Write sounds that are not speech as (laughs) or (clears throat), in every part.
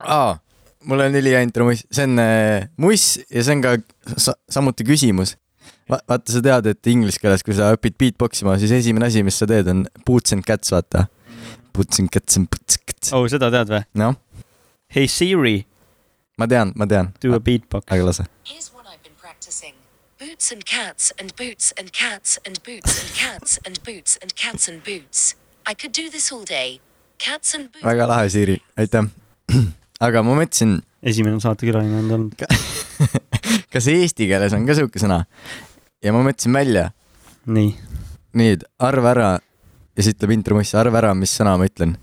aa , mul on üliantro muss , see on äh, muss ja see on ka sa samuti küsimus Va . vaata , sa tead , et inglise keeles , kui sa õpid beatbox ima , siis esimene asi , mis sa teed , on boots and cats , vaata . Boots and cats and boots and cats . oh , seda tead või ? noh , Hey Siri , ma tean , ma tean . do a beatbox . aga lase . Here's one I've been practicing. Boots and cats and boots and cats and boots and cats and boots and cats and boots. I could do this all day. Cats and boots. väga lahe , Siiri , aitäh . (clears throat) aga ma mõtlesin , esimene saatekülaline on ta olnud . kas eesti keeles on ka sihuke sõna ? ja ma mõtlesin välja , nii , nüüd arva ära ja siis ütleb intro muss , arva ära , mis sõna ma ütlen .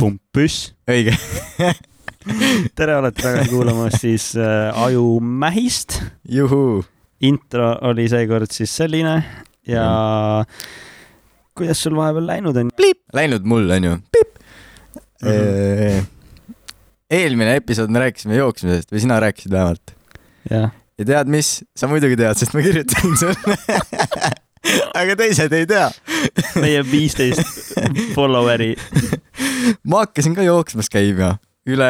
pumpüss . õige . (laughs) tere , olete tagasi kuulamas siis äh, Ajumähist . juhuu . intro oli seekord siis selline ja kuidas sul vahepeal läinud on ? Läinud mul on ju . eelmine episood me rääkisime jooksmisest või sina rääkisid vähemalt . jah , ja tead mis , sa muidugi tead , sest ma kirjutasin sulle . (laughs) aga teised ei tea . meie viisteist follower'i . ma hakkasin ka jooksmas käima üle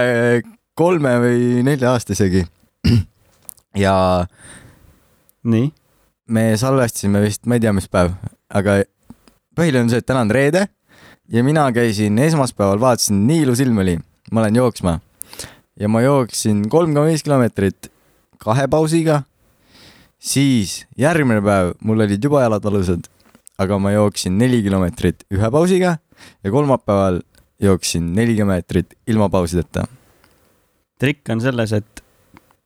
kolme või nelja aasta isegi . ja nii , me salvestasime vist , ma ei tea , mis päev , aga põhiline on see , et täna on reede ja mina käisin esmaspäeval , vaatasin , nii ilus ilm oli , ma lähen jooksma ja ma jooksin kolm koma viis kilomeetrit kahe pausiga . siis järgmine päev mul olid juba jalad valusad , aga ma jooksin neli kilomeetrit ühe pausiga ja kolmapäeval jooksin neli kilomeetrit ilma pausideta . trikk on selles , et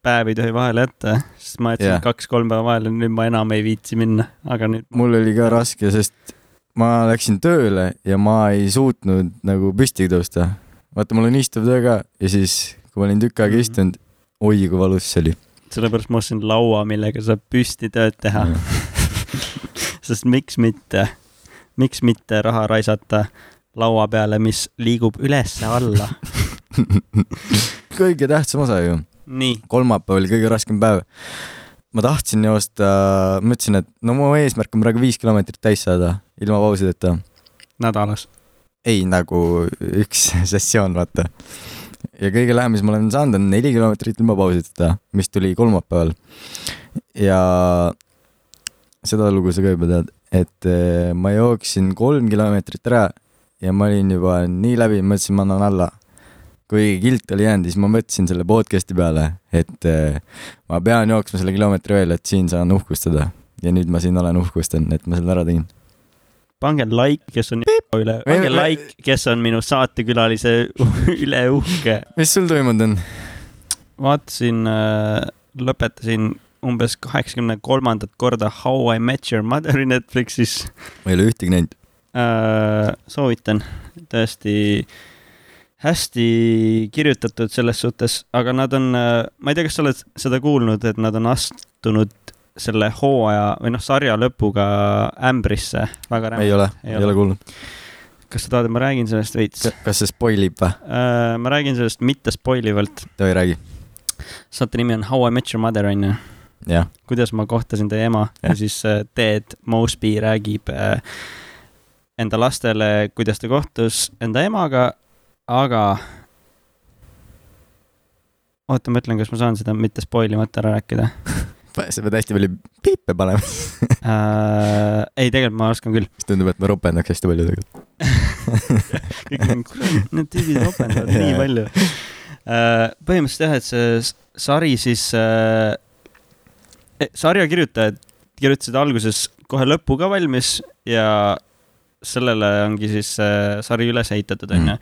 päev ei tohi vahele jätta , sest ma jätsin Jah. yeah. kaks-kolm päeva vahele , nüüd ma enam ei viitsi minna , aga nüüd mul oli ka raske , sest ma läksin tööle ja ma ei suutnud nagu püsti tõusta . vaata , mul on istuv töö ka ja siis , kui ma olin tükk aega Mhm. istunud , oi kui valus see oli . sellepärast ma ostsin laua , millega saab püsti tööd teha . sest miks mitte , miks mitte raha raisata laua peale , mis liigub üles-alla . kõige tähtsam osa ju , nii , kolmapäev oli kõige raskem päev . ma tahtsin joosta , ma ütlesin , et no mu eesmärk on praegu viis kilomeetrit täis saada ilma pausideta . nädalas . ei nagu üks (laughs) sessioon , vaata . ja kõige lähem , mis ma olen saanud , on neli kilomeetrit ilma pausideta , mis tuli kolmapäeval . ja seda lugu sa ka juba tead , et eh, ma jooksin kolm kilomeetrit ära ja ma olin juba nii läbi , mõtlesin , ma annan alla . kui kilt oli jäänud , siis ma mõtlesin selle podcast'i peale , et eh, ma pean jooksma selle kilomeetri veel , et siin saan uhkustada . ja nüüd ma siin olen , uhkustan , et ma selle ära tegin . pange like , kes on üle , pange me- like , kes on minu saatekülalise (laughs) üle uhke . mis sul toimunud on ? vaatasin , lõpetasin umbes kaheksakümne kolmandat korda How I Met Your Mother'i Netflixis ma ei ole ühtegi näinud . Äh, soovitan , tõesti hästi kirjutatud selles suhtes , aga nad on , ma ei tea , kas sa oled seda kuulnud , et nad on astunud selle hooaja või noh , sarja lõpuga ämbrisse . väga ei räme . ole , Ei ei ole. ole kuulnud . kas sa tahad , et ma räägin sellest veits ? kas see spoilib või ? ma räägin sellest mitte spoilivalt . ta ei räägi , saate nimi on How I Met Your Mother onju . jah . kuidas ma kohtasin teie ema ja, ja Jah. siis äh, Ted Mosby räägib äh, enda lastele , kuidas ta kohtus enda emaga , aga . oota , ma ütlen , kas ma saan seda mitte spoilimata ära rääkida sa pead hästi palju piipe panema , äh, ? ei , tegelikult ma oskan küll . siis tundub , et ma ropendaks hästi palju tegelikult . (laughs) kõik on , kurat , need tüübid ropendavad nii palju . põhimõtteliselt jah , et see s- sari siis äh, , sarja kirjutajad kirjutasid alguses kohe lõpu ka valmis ja sellele ongi siis äh, sari üles ehitatud , onju .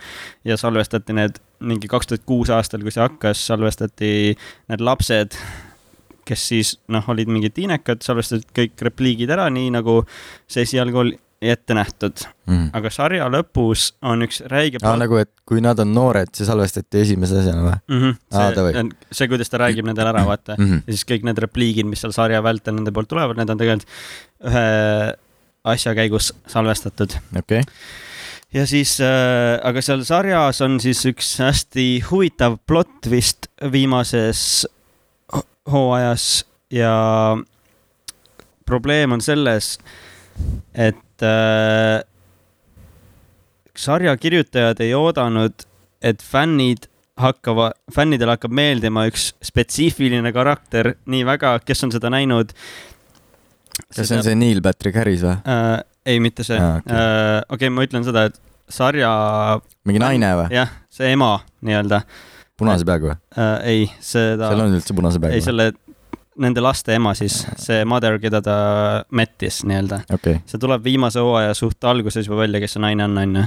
ja salvestati need mingi kaks tuhat kuus aastal , kui see hakkas , salvestati need lapsed , kes siis noh , olid mingid tiinekad , salvestati kõik repliigid ära , nii nagu see esialgu oli ette nähtud Mm. aga sarja lõpus on üks räige Aa, nagu , et kui nad on noored , see salvestati esimese asjana või mm -hmm. Aa, davai. see , see , kuidas ta räägib nendele ära , vaata . mm ? -hmm. ja siis kõik need repliigid , mis seal sarja vältel nende poolt tulevad , need on tegelikult ühe asja käigus salvestatud . okei okay. , ja siis äh, , aga seal sarjas on siis üks hästi huvitav plott vist viimases ho- hooajas ja probleem on selles , et äh, sarja kirjutajad ei oodanud , et fännid hakkavad , fännidele hakkab meeldima üks spetsiifiline karakter nii väga , kes on seda näinud . kas see on see Neil Patrick Harris või ? äh, ? ei , mitte see . Aa, okei. Ah. okei , okay, ma ütlen seda , et sarja , mingi naine või ? jah , see ema nii-öelda punase peaga või ? äh, , ei , seda , seal on üldse punase peaga ei või ? selle , nende laste ema siis , see mother , keda ta mättis nii-öelda . okei , see tuleb viimase hooaja suht alguses juba välja , kes see naine on , onju .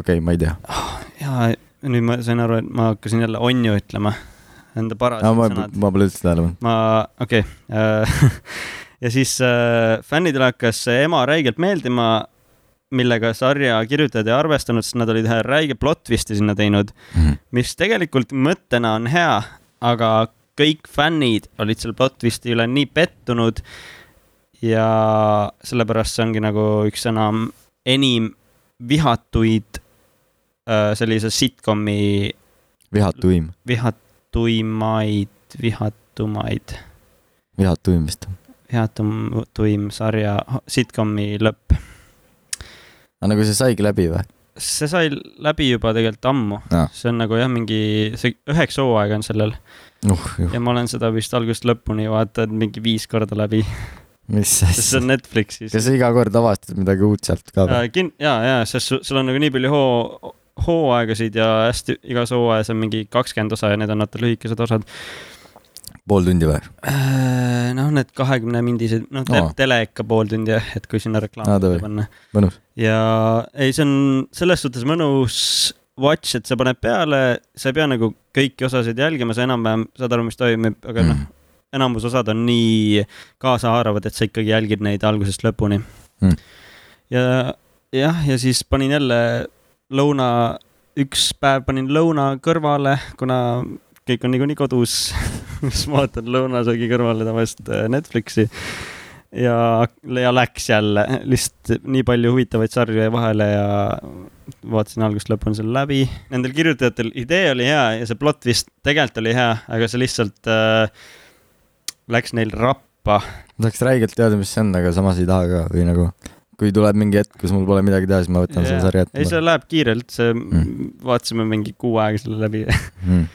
okei , ma ei tea . Ah, ja nüüd ma sain aru , et ma hakkasin jälle onju ütlema , enda parased ma , sõnad . ma pole üldse tähele pannud . ma , okei okay. . (laughs) ja siis äh, fännidele hakkas see ema räigelt meeldima , millega sarja kirjutajad ei arvestanud , sest nad olid ühe räige plot twist'i sinna teinud , Mhm. mis tegelikult mõttena on hea , aga kõik fännid olid selle plot twist'i üle nii pettunud . ja sellepärast see ongi nagu üks enam enim vihatuid äh, sellise sitcomi vihatu uim , vihatuimaid , vihatumaid , vihatu uim vist . vihatuim sarja sitcomi lõpp . aga nagu see saigi läbi või ? see sai läbi juba tegelikult ammu Aa. see on nagu jah , mingi see üheksa hooaega on sellel uh , uh , ja ma olen seda vist algusest lõpuni vaadanud mingi viis korda (laughs) läbi , mis sest see asja . on Netflixis . kas sa iga kord avastad midagi uut sealt ka või ? Äh, kin- , ja , ja , sest su- sul on nagu nii palju hoo- , hooaegasid ja hästi igas hooajas on mingi kakskümmend osa ja need on vaata lühikesed osad . pool tundi või ? noh , need kahekümne mindised , noh te, Aa. tele ikka pool tundi , et kui sinna reklaam Aa, davai. panna . mõnus . ja ei , see on selles suhtes mõnus watch , et sa paned peale , sa ei pea nagu kõiki osasid jälgima , sa enam-vähem saad aru , mis toimub , Mm. aga Mhm. noh , enamus osad on nii kaasahaaravad , et sa ikkagi jälgid neid algusest lõpuni Mm. ja jah , ja siis panin jälle lõuna , üks päev panin lõuna kõrvale , kuna kõik on niikuinii kodus , (laughs) siis ma vaatan lõunasöögi kõrvale tavaliselt äh, Netflixi . ja , ja läks jälle , lihtsalt nii palju huvitavaid sarju jäi vahele ja vaatasin algusest lõpuni selle läbi . Nendel kirjutajatel idee oli hea ja see plott vist tegelikult oli hea , aga see lihtsalt äh, läks neil rappa . ma tahaks räigelt teada , mis see on , aga samas ei taha ka või nagu , kui tuleb mingi hetk , kus mul pole midagi teha , siis ma võtan selle sarja ei , see ette . läheb kiirelt , see mm. Mm. , vaatasime mingi kuu aega selle (laughs) läbi . Hmm.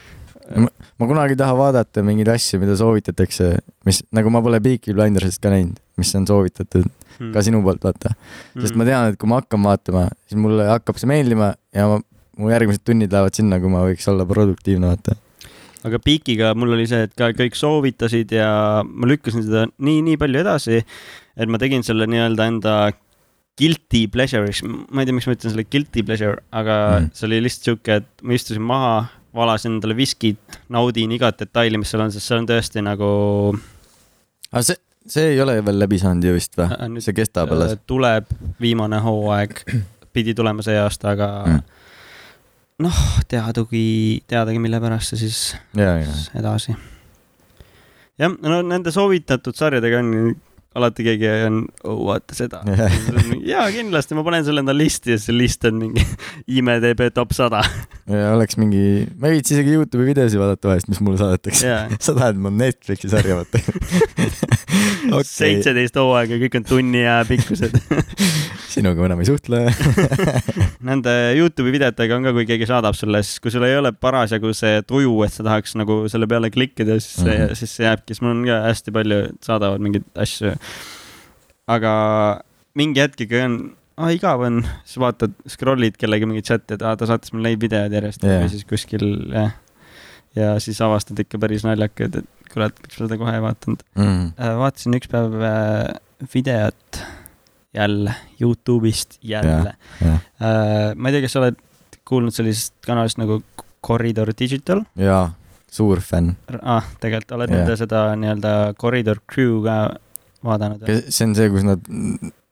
Ma, ma kunagi ei taha vaadata mingeid asju , mida soovitatakse , mis nagu ma pole Peaky Blindersist ka näinud , mis on soovitatud Hmm. ka sinu poolt vaata , Mm. sest ma tean , et kui ma hakkan vaatama , siis mulle hakkab see meeldima ja ma, mu järgmised tunnid lähevad sinna , kui ma võiks olla produktiivne vaata . aga Peakiga mul oli see , et ka kõik soovitasid ja ma lükkasin seda nii , nii palju edasi , et ma tegin selle nii-öelda enda guilty pleasure'iks , ma ei tea , miks ma ütlen selle guilty pleasure , aga mm. Mm. see oli lihtsalt sihuke , et ma istusin maha , valasin endale viskit , naudin igat detaili , mis seal on , sest see on tõesti nagu aga see , see ei ole veel läbi saanud ju vist Aa, või Ah, nüüd, ? Ah, see kestab alles ? Äh, tuleb viimane hooaeg , pidi tulema see aasta , aga Mm. mm. noh , teadugi , teadagi , mille pärast see siis ja , ja , edasi . jah , no nende soovitatud sarjadega on ju- alati keegi on , vaata seda . jaa , kindlasti , ma panen selle enda listi ja see list on mingi (laughs) IMDB top sada . (laughs) ja oleks mingi , ma ei viitsi isegi Youtube'i videosi vaadata vahest , mis mulle saadetakse . jaa , (laughs) sa tahad mu Netflixi sarja vaata okay. ? (laughs) seitseteist hooaega , kõik on tunni aja pikkused . (laughs) sinuga enam ei suhtle . Nende Youtube'i videotega on ka , kui keegi saadab sulle , siis kui sul ei ole parasjagu see tuju , et sa tahaks nagu selle peale klikkida , siis see mm , Mhm. -hmm. siis see jääbki , siis mul on ka hästi palju , saadavad mingeid asju . aga mingi hetk ikka on , aa igav on , siis vaatad , scroll'id kellegi mingeid chat'e , et aa ta saatis mulle neid videod järjest yeah. Jaa. või siis kuskil jah . ja siis avastad ikka päris naljakad , et kurat , miks ma seda kohe ei vaadanud . Mm. vaatasin üks päev äh, videot jälle , Youtube'ist jälle . Äh, ma ei tea , kas sa oled kuulnud sellisest kanalist nagu Corridor Digital jaa , suur fänn . ah, , tegelikult oled Jah. yeah. nende seda nii-öelda Corridor Crew ka vaadanud , see on see , kus nad ,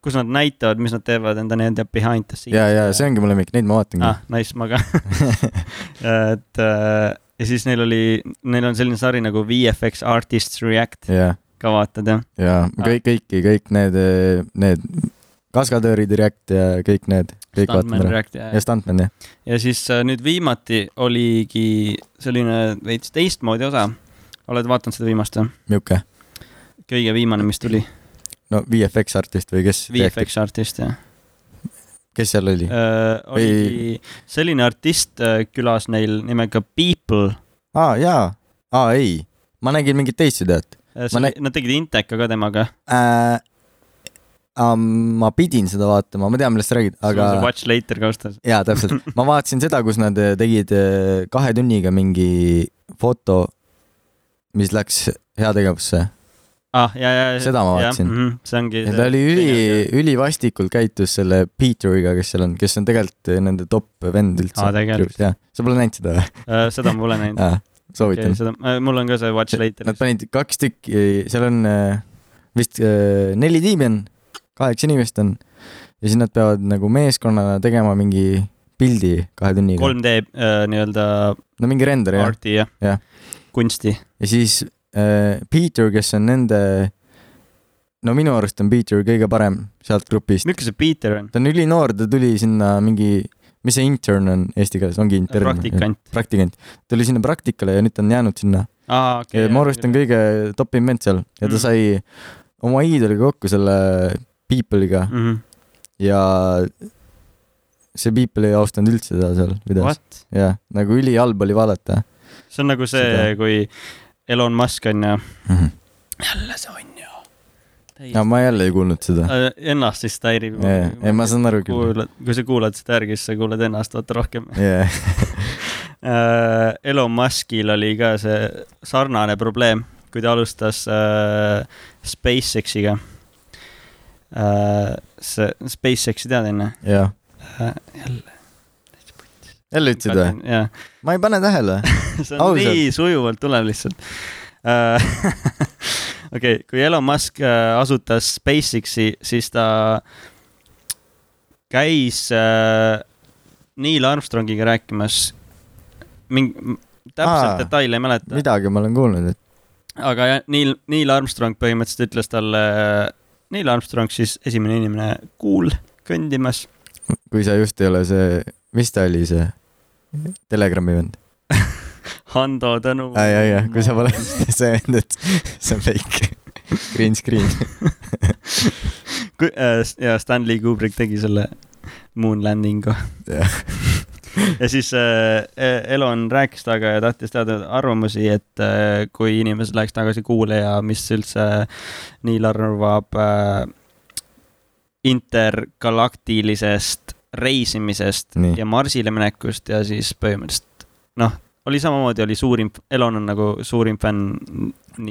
kus nad näitavad , mis nad teevad enda nii-öelda behind the scenes . jaa , jaa , see ongi mu lemmik , neid ma vaatangi ah, . nice , (laughs) ma ka . et äh, ja siis neil oli , neil on selline sari nagu VFX Artists React , jaa , ka vaatad jah ? jaa , Ah. kõik , kõiki , kõik need , need kaskadöörid , React ja kõik need , kõik vaatame ära . React ja, ja Stuntman , jah . ja siis äh, nüüd viimati oligi selline veits teistmoodi osa . oled vaadanud seda viimast või ? nihuke , kõige viimane , mis tuli ? no VFX artist või kes ? VFX artist jah . kes seal oli ? oli Äh, selline artist äh, külas neil nimega People . aa , jaa , aa ei , ma nägin mingit teist videot Ma nä- Äh, Nad tegid Inteka ka temaga , äh, . Um, ma pidin seda vaatama , ma tean , millest sa räägid , aga... see aga Watch Later kaustas . jaa , täpselt , ma vaatasin seda , kus nad äh, tegid äh, kahe tunniga mingi foto , mis läks heategevusse . ah , ja , ja . Seda ma vaatasin. Mm -hmm, see ongi . ja ta oli üli , ülivastikult käitus selle Peteriga , kes seal on , kes on tegelikult äh, nende top vend üldse Aa, . tegelikult. jah , sa pole näinud seda või ? Äh, seda ma pole (laughs) näinud . jaa , soovitan Okay, . seda , mul on ka see Watch Later Nad . panid kaks tükki , seal on äh, vist äh, neli tiimi on , kaheksa inimest on ja siis nad peavad nagu meeskonnana tegema mingi pildi kahe tunniga . 3D äh, nii-öelda no mingi render jah , arti ja, Jah. kunsti . ja siis äh, Peter , kes on nende , no minu arust on Peter kõige parem sealt grupist . milline see Peter on ? ta on ülinoor , ta tuli sinna mingi , mis see intern on eesti keeles , ongi intern ? praktikant . praktikant , tuli sinna praktikale ja nüüd ta on jäänud sinna aa , okei ja . ma arvan , et ta on . kõige top im vend seal ja ta Mm. sai oma iidoliga kokku selle People'iga Mm. Mhm. ja see People ei austanud üldse teda seal videos . What ? jah , nagu ülihalb oli vaadata see on nagu see Seda- , kui Elon Musk on ju . mm . -hmm. jälle see on ju . ja ma jälle ei kuulnud seda . Äh, Ennast siis häirib . ei , ma saan aru küll . kuulad , kui sa kuulad seda järgi , siis sa kuuled ennast vaata rohkem . jaa , Elon Muskil oli ka see sarnane probleem , kui ta alustas äh, SpaceX'iga äh, . see SpaceX'i tead onju jaa . äh, ? jälle . jälle ütlesid või ?? jah , ma ei pane tähele . (laughs) see Ausalt. on Ausalt. nii sujuvalt tuleb lihtsalt Äh, (laughs) okei , kui Elon Musk äh, asutas SpaceX'i , siis ta käis äh, Neil Armstrongiga rääkimas . mingi , Aa, täpselt detaile ei mäleta , midagi ma olen kuulnud , et aga jah, Neil , Neil Armstrong põhimõtteliselt ütles talle , Neil Armstrong siis esimene inimene kuul kõndimas . kui sa just ei ole see , mis ta oli see ? Telegrami vend . Hando Tõnu . aa , jaa , jaa , kui sa pole (laughs) see vend , et (laughs) see on fake . Green screen . Kui- äh, s- ja Stanley Kubrick tegi selle moon landing'u . Jah. (laughs) ja siis äh, Elon rääkis temaga ja tahtis teada arvamusi , et äh, kui inimesed läheks tagasi Kuule ja mis üldse Neil arvab äh, intergalaktilisest reisimisest Nii. ja Marsile minekust ja siis põhimõtteliselt noh , oli samamoodi , oli suurim , Elon on nagu suurim fänn .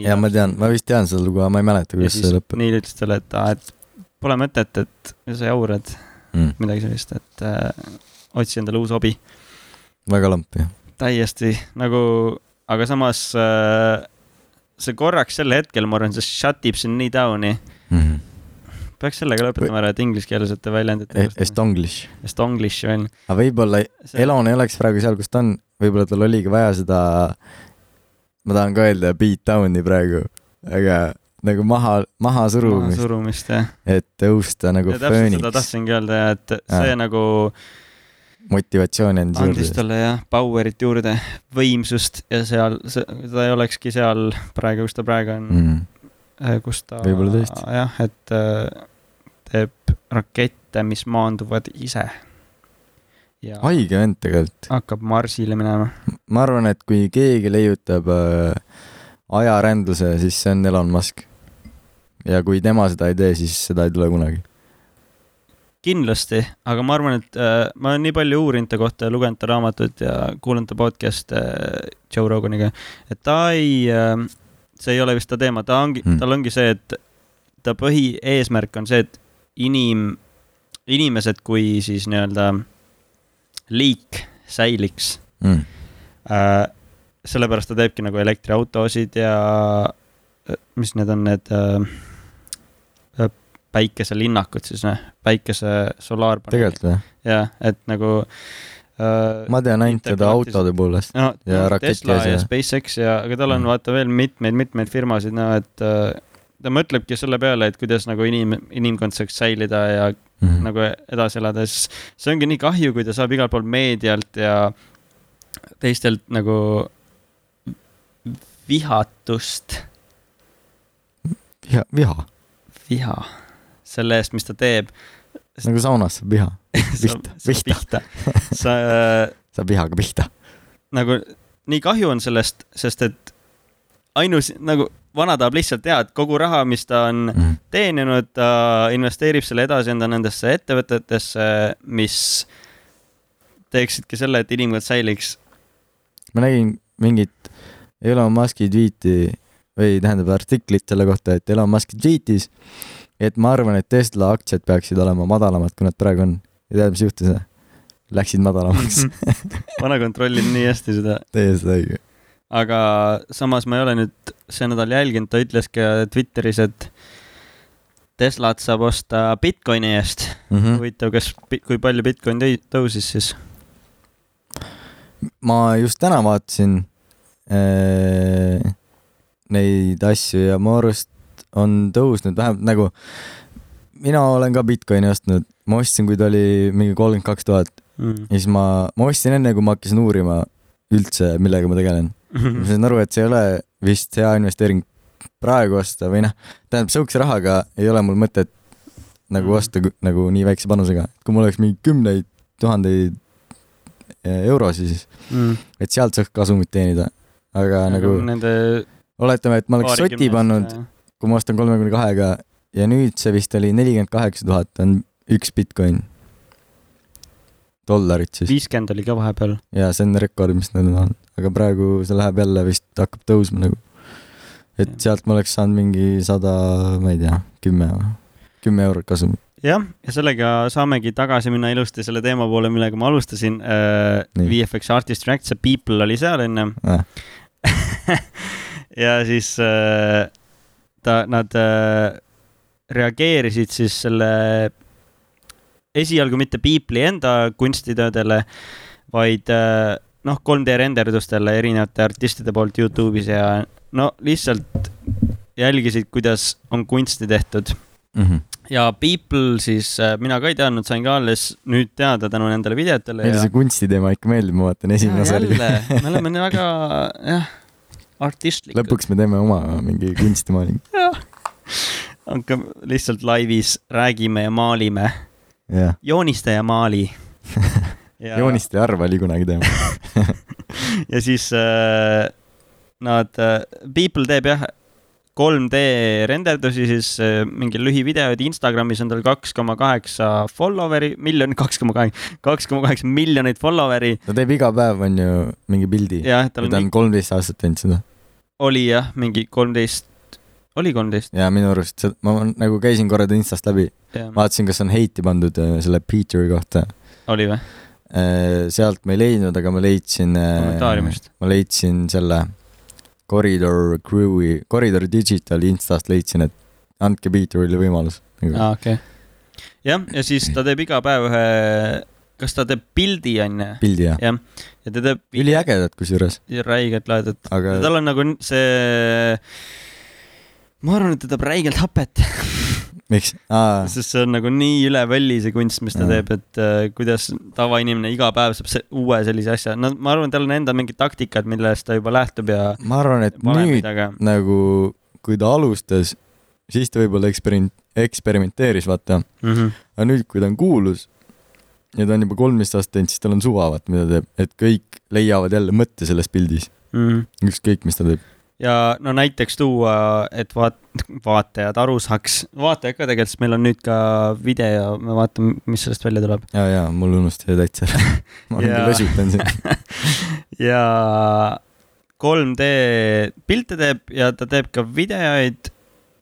ja ma tean , ma vist tean seda lugu , aga ma ei mäleta , ja kuidas siis see lõpeb Neil ütles talle , et aa , et pole mõtet , et sa jaurad mm, . midagi sellist , et äh, otsi endale uus hobi . väga lamp jah . täiesti nagu , aga samas äh, see korraks sel hetkel , ma arvan , see shut ib sind nii down'i . Mhm. peaks sellega lõpetama ära , et ingliskeelsete Eh, väljendite E-, Estonglish . Estonglish veel . aga võib-olla Elon ei oleks praegu seal , kus ta on , võib-olla tal oligi vaja seda , ma tahan ka öelda beat down'i praegu , aga nagu maha , maha surumist , surumist jah . et tõusta nagu ja täpselt seda fööniks . tahtsingi öelda ja et see Jaa. nagu motivatsiooni on andis juurde . talle jah , power'it juurde , võimsust ja seal , ta ei olekski seal praegu , kus ta praegu on Mm. Eh, kus ta Võib-olla tõesti. jah , et eh, teeb rakette , mis maanduvad ise . ja Ai. haige vend tegelikult . hakkab Marsile minema . ma arvan , et kui keegi leiutab äh, ajarändluse , siis see on Elon Musk . ja kui tema seda ei tee , siis seda ei tule kunagi . kindlasti , aga ma arvan , et eh, ma olen nii palju uurinud ta kohta ja lugenud ta raamatut ja kuulanud ta podcast'e eh, Joe Roganiga , et ta ei , see ei ole vist ta teema , ta ongi Mm. mm. , tal ongi see , et ta põhieesmärk on see , et inim , inimesed kui siis nii-öelda liik säiliks Mm. Äh, sellepärast ta teebki nagu elektriautosid ja äh, mis need on need äh, äh, päikeselinnakud siis noh , päikese solaarpaneelid . tegelikult või ? jah , et nagu äh, ma tean ainult seda Intergalaktis- autode poolest . no, ja no, raketi Tesla asja. ja SpaceX ja , aga tal on Mm. vaata veel mitmeid-mitmeid firmasid , no et äh, ta mõtlebki selle peale , et kuidas nagu inim , inimkond saaks säilida ja Mhm. Mm. nagu edasi elada , siis see ongi nii kahju , kui ta saab igalt poolt meedialt ja teistelt nagu vihatust , viha , viha . viha selle eest , mis ta teeb . nagu saunas saab viha , pihta , pihta , pihta . sa äh, saab vihaga pihta . nagu nii kahju on sellest , sest et ainus nagu vana tahab lihtsalt teha , et kogu raha , mis ta on Mm. teeninud , ta investeerib selle edasi enda nendesse ettevõtetesse , mis teeksidki selle , et inimkond säiliks . ma nägin mingit Elon Musk'i tweet'i või tähendab artiklit selle kohta , et Elon Musk tweet'is , et ma arvan , et Tesla aktsiad peaksid olema madalamad , kui nad praegu on . ja tead , mis juhtus ? Läksid madalamaks . vana kontrollib nii hästi seda , (laughs) täiesti õige . aga samas ma ei ole nüüd see nädal jälginud , ta ütles ka Twitteris , et Teslat saab osta Bitcoini eest . Mm. huvitav , kas , kui palju Bitcoin tõi- tõusis siis ? ma just täna vaatasin äh, neid asju ja mu arust on tõusnud vähemalt nagu , mina olen ka Bitcoini ostnud , ma ostsin , kui ta oli mingi kolmkümmend kaks tuhat Mm. ja siis ma , ma ostsin enne , kui ma hakkasin uurima üldse , millega ma tegelen . Mhm. ma Mm. sain aru , et see ei ole vist hea investeering praegu osta või noh , tähendab sihukese rahaga ei ole mul mõtet nagu Mhm. osta kü- nagu nii väikse panusega , et kui mul oleks mingi kümneid tuhandeid eh, eurosid , siis et sealt saaks kasumit teenida . aga Mm. nagu nende . äh, oletame , et ma oleks soti pannud ,. kui ma ostan kolmekümne kahega ja nüüd see vist oli nelikümmend kaheksa tuhat on üks Bitcoin . dollarit siis viiskümmend oli ka vahepeal . ja see on rekord , mis neil on , aga praegu see läheb jälle vist hakkab tõusma nagu . et Jah. sealt ma oleks saanud mingi sada , ma ei tea , kümme , kümme eurot kasumit , jah , ja sellega saamegi tagasi minna ilusti selle teema poole , millega ma alustasin uh, . Nii. VFX Artist Reacts ja People oli seal enne Ah. . ja siis uh, ta , nad uh, reageerisid siis selle esialgu mitte People'i enda kunstitöödele , vaid uh, noh , 3D renderdustele erinevate artistide poolt Youtube'is ja no lihtsalt jälgisid , kuidas on kunsti tehtud mm . -hmm. ja People siis , mina ka ei teadnud , sain ka alles nüüd teada tänu nendele videotele . meile see kunstiteema ikka meeldib , ma vaatan esimene sari . me oleme nii väga , jah , (laughs) artistlikud . lõpuks me teeme oma mingi kunstimaalingu . hakkame lihtsalt laivis , räägime ja maalime , jah , joonista ja (laughs) maali ja... joonist ei arva oli kunagi teema . ja siis äh, nad äh, , People teeb jah , 3D renderdusi siis äh, mingi lühivideoid , Instagramis on tal kaks koma kaheksa follower'i , miljon , (laughs) kaks koma kaheksa , kaks koma kaheksa miljonit follower'i . ta teeb iga päev , on ju , mingi pildi . jah , tal ja on ta on kolmteist aastat teinud seda oli jah , mingi kolmteist , oli kolmteist . ja minu arust see , ma ma nagu käisin korra ta instast läbi , Mhm. vaatasin , kas on heiti pandud äh, selle Peteri kohta . oli või ? Äh, sealt ma ei leidnud , aga ma leidsin . kommentaariumist . ma leidsin selle Corridor Crew'i , Corridor Digitali instast leidsin , et andke Peterile võimalus . Nagu aa , Ah, okei . jah , ja siis ta teeb iga päev ühe , kas ta teeb pildi onju ? pildi ja , jah , ja ta teeb üliägedad kusjuures , räigelt laedat . aga tal on nagu n- see , ma arvan , et ta teeb räigelt hapet , miks ? aa , sest see on nagu nii üle võlli see kunst , mis ta Jaa. teeb , et äh, kuidas tavainimene iga päev saab se- uue sellise asja , no ma arvan , tal on endal mingid taktikad , millest ta juba lähtub ja ma arvan , et nüüd valemid , aga nagu , kui ta alustas , siis ta võib-olla eksperiment- , eksperimenteeris , vaata . mm . -hmm. aga nüüd , kui ta on kuulus ja ta on juba kolmteist aastat teinud , siis tal on suva , vaata , mida ta teeb , et kõik leiavad jälle mõtte selles pildis , Mm -hmm ükskõik , mis ta teeb . ja no näiteks tuua , et vaat- , vaatajad aru saaks , vaatajad ka tegelikult , sest meil on nüüd ka video , me vaatame , mis sellest välja tuleb . ja , ja mul unustas see täitsa (laughs) ära . ma mingi Jaa. lõsutan siin . ja 3D pilte teeb ja ta teeb ka videoid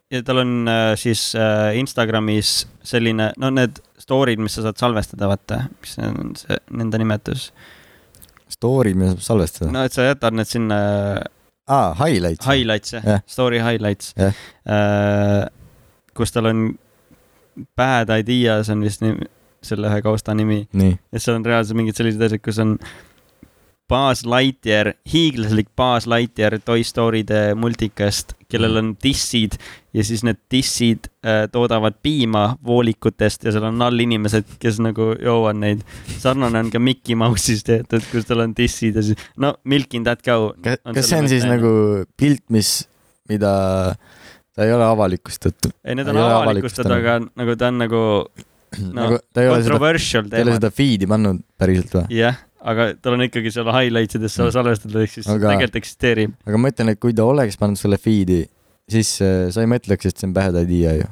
ja tal on äh, siis äh, Instagramis selline , no need story'd , mis sa saad salvestada , vaata , mis on see nende nimetus . Story , mida saab salvestada no. . no et sa jätad need sinna aa , highlights . highlights jah Jah. yeah. , story highlights Jah. yeah. . kus tal on Bad Ideas on vist nimi, selle ühe kausta nimi nii , ja seal on reaalselt mingid sellised asjad , kus on baas Lightyear , hiiglaslik baas Lightyear Toy Story'de multikast , Mhm. kellel on dissid ja siis need dissid äh, toodavad piima voolikutest ja seal on all inimesed , kes nagu joovad neid . sarnane on ka Mickey Mouse'is tehtud , kus tal on dissid ja siis no Milk in that cow . kas , On kas see selle on siis mõte, nagu pilt , mis , mida ta ei ole avalikustatud ? ei , need Ei on ole avalikustatud , avalikustanud. aga nagu ta on nagu no (clears throat) nagu ta ei ole seda , controversial ta ei ole teema . seda feed'i pannud päriselt või ? jah , aga tal on ikkagi seal highlights ides sa- salvestatud , ehk siis Mm. Aga- aga... tegelikult eksisteerib . aga ma ütlen , et kui ta oleks pannud selle feed'i , siis äh, sa ei mõtleks , et see on bad idea ju .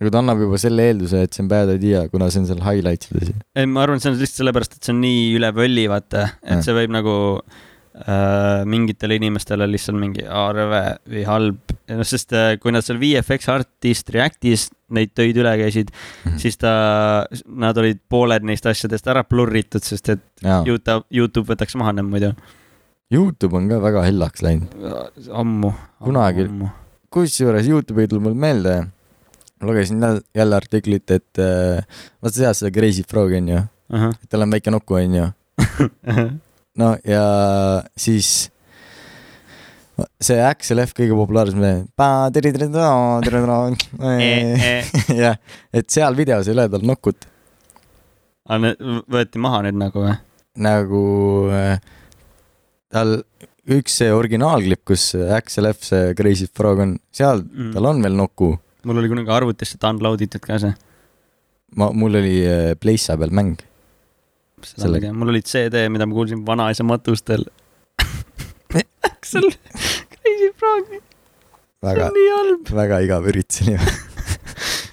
nagu ta annab juba selle eelduse , et see on bad idea , kuna see on seal highlights ides ju . ei , ma arvan , see on lihtsalt sellepärast , et see on nii üle võlli , vaata , Mm. et see võib nagu äh, mingitele inimestele lihtsalt mingi aa, rõve või halb . noh , sest äh, kui nad seal VFX Artist Reactis neid töid üle käisid mm , Mhm. -hmm. siis ta , nad olid pooled neist asjadest ära blurritud , sest et jaa , Youtube , Youtube võtaks maha need muidu . Youtube on ka väga hellaks läinud . ammu . Kunagi. kusjuures Youtube'i ei tulnud mul meelde , lugesin jälle- jälle artiklit , et äh, vaata sa tead seda Crazy Frog'i onju , (laughs) et tal on väike nuku onju . no ja siis see Axel F kõige populaarsem , Eh, jah , et seal videos ei ole tal nukut , Ah, võeti maha nüüd nagu või ? nagu äh, tal üks see originaalklipp , kus Axel F see Crazy Frog on , seal Mm. tal on veel nuku , mul oli kunagi arvutisse download itud ka see . ma , mul oli äh, Playsta peal mäng , seda ma ei tea , mul oli CD , mida ma kuulsin vanaisa matustel . Aksel , Crazy Frog , see väga on , nii halb . väga igav üritus oli . (laughs)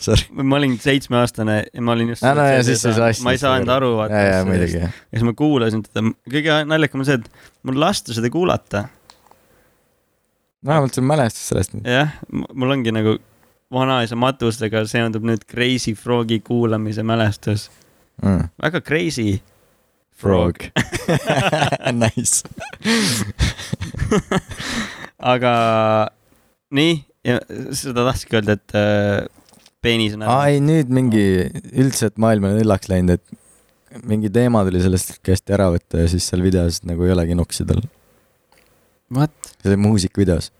Sorry , ma olin seitsmeaastane ja ma olin just . no ja siis ei saa hästi . ma ei saanud aru , ja , ja vaata . muidugi , ja siis ma kuulasin teda , kõige naljakam on see , et mul lasta seda kuulata . vähemalt sul on mälestus sellest . jah , mul ongi nagu vanaisa matustega seondub nüüd Crazy Frogi kuulamise mälestus . Mm. väga crazy . Frog (laughs) nice . (laughs) aga nii , ja seda tahtsidki öelda , et äh, peenis on aa . ei , nüüd mingi üldse , et maailm on õllaks läinud , et mingi teema tuli sellest kästi ära võtta ja siis seal videos nagu ei olegi nuksi tal . What? ? see oli muusikavideos .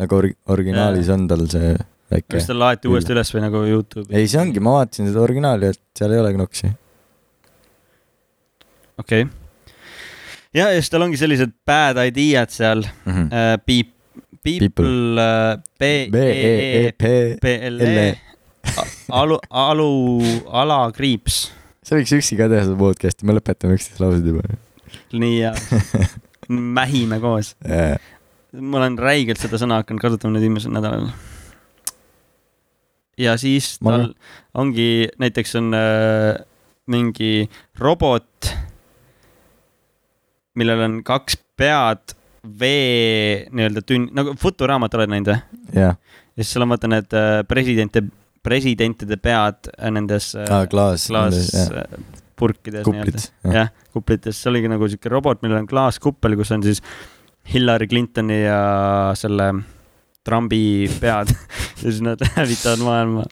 nagu or- , originaalis on tal see väike kas . ta laeti Küll. uuesti üles või nagu Youtube'i ? ei , see ongi ,. ma vaatasin seda originaali , et seal ei olegi nuksi . okei okay. . ja , ja siis tal ongi sellised bad idea'd seal Mhm. äh, . Beep , people , B B E E E E P . P L E LE. , alu , alu , alakriips . sa võiks üksi ka teha seda podcast'i , me lõpetame üksteist lauset juba . (laughs) nii hea . mähime koos . ma olen räigelt seda sõna hakanud kasutama nüüd viimasel nädalal . ja siis Ma tal ongi , näiteks on äh, mingi robot , millel on kaks pead , vee nii-öelda tünn , nagu Futuraamat oled näinud või ? jah , ja siis seal on vaata need äh, presidente , presidentide pead äh, nendes äh, klaas . klaaspurkides nii-öelda . kuplid . jah , jah , kuplites , see oligi nagu sihuke robot , millel on klaaskuppel , kus on siis Hillary Clintoni ja selle Trumpi pead (laughs) ja siis nad hävitavad maailma .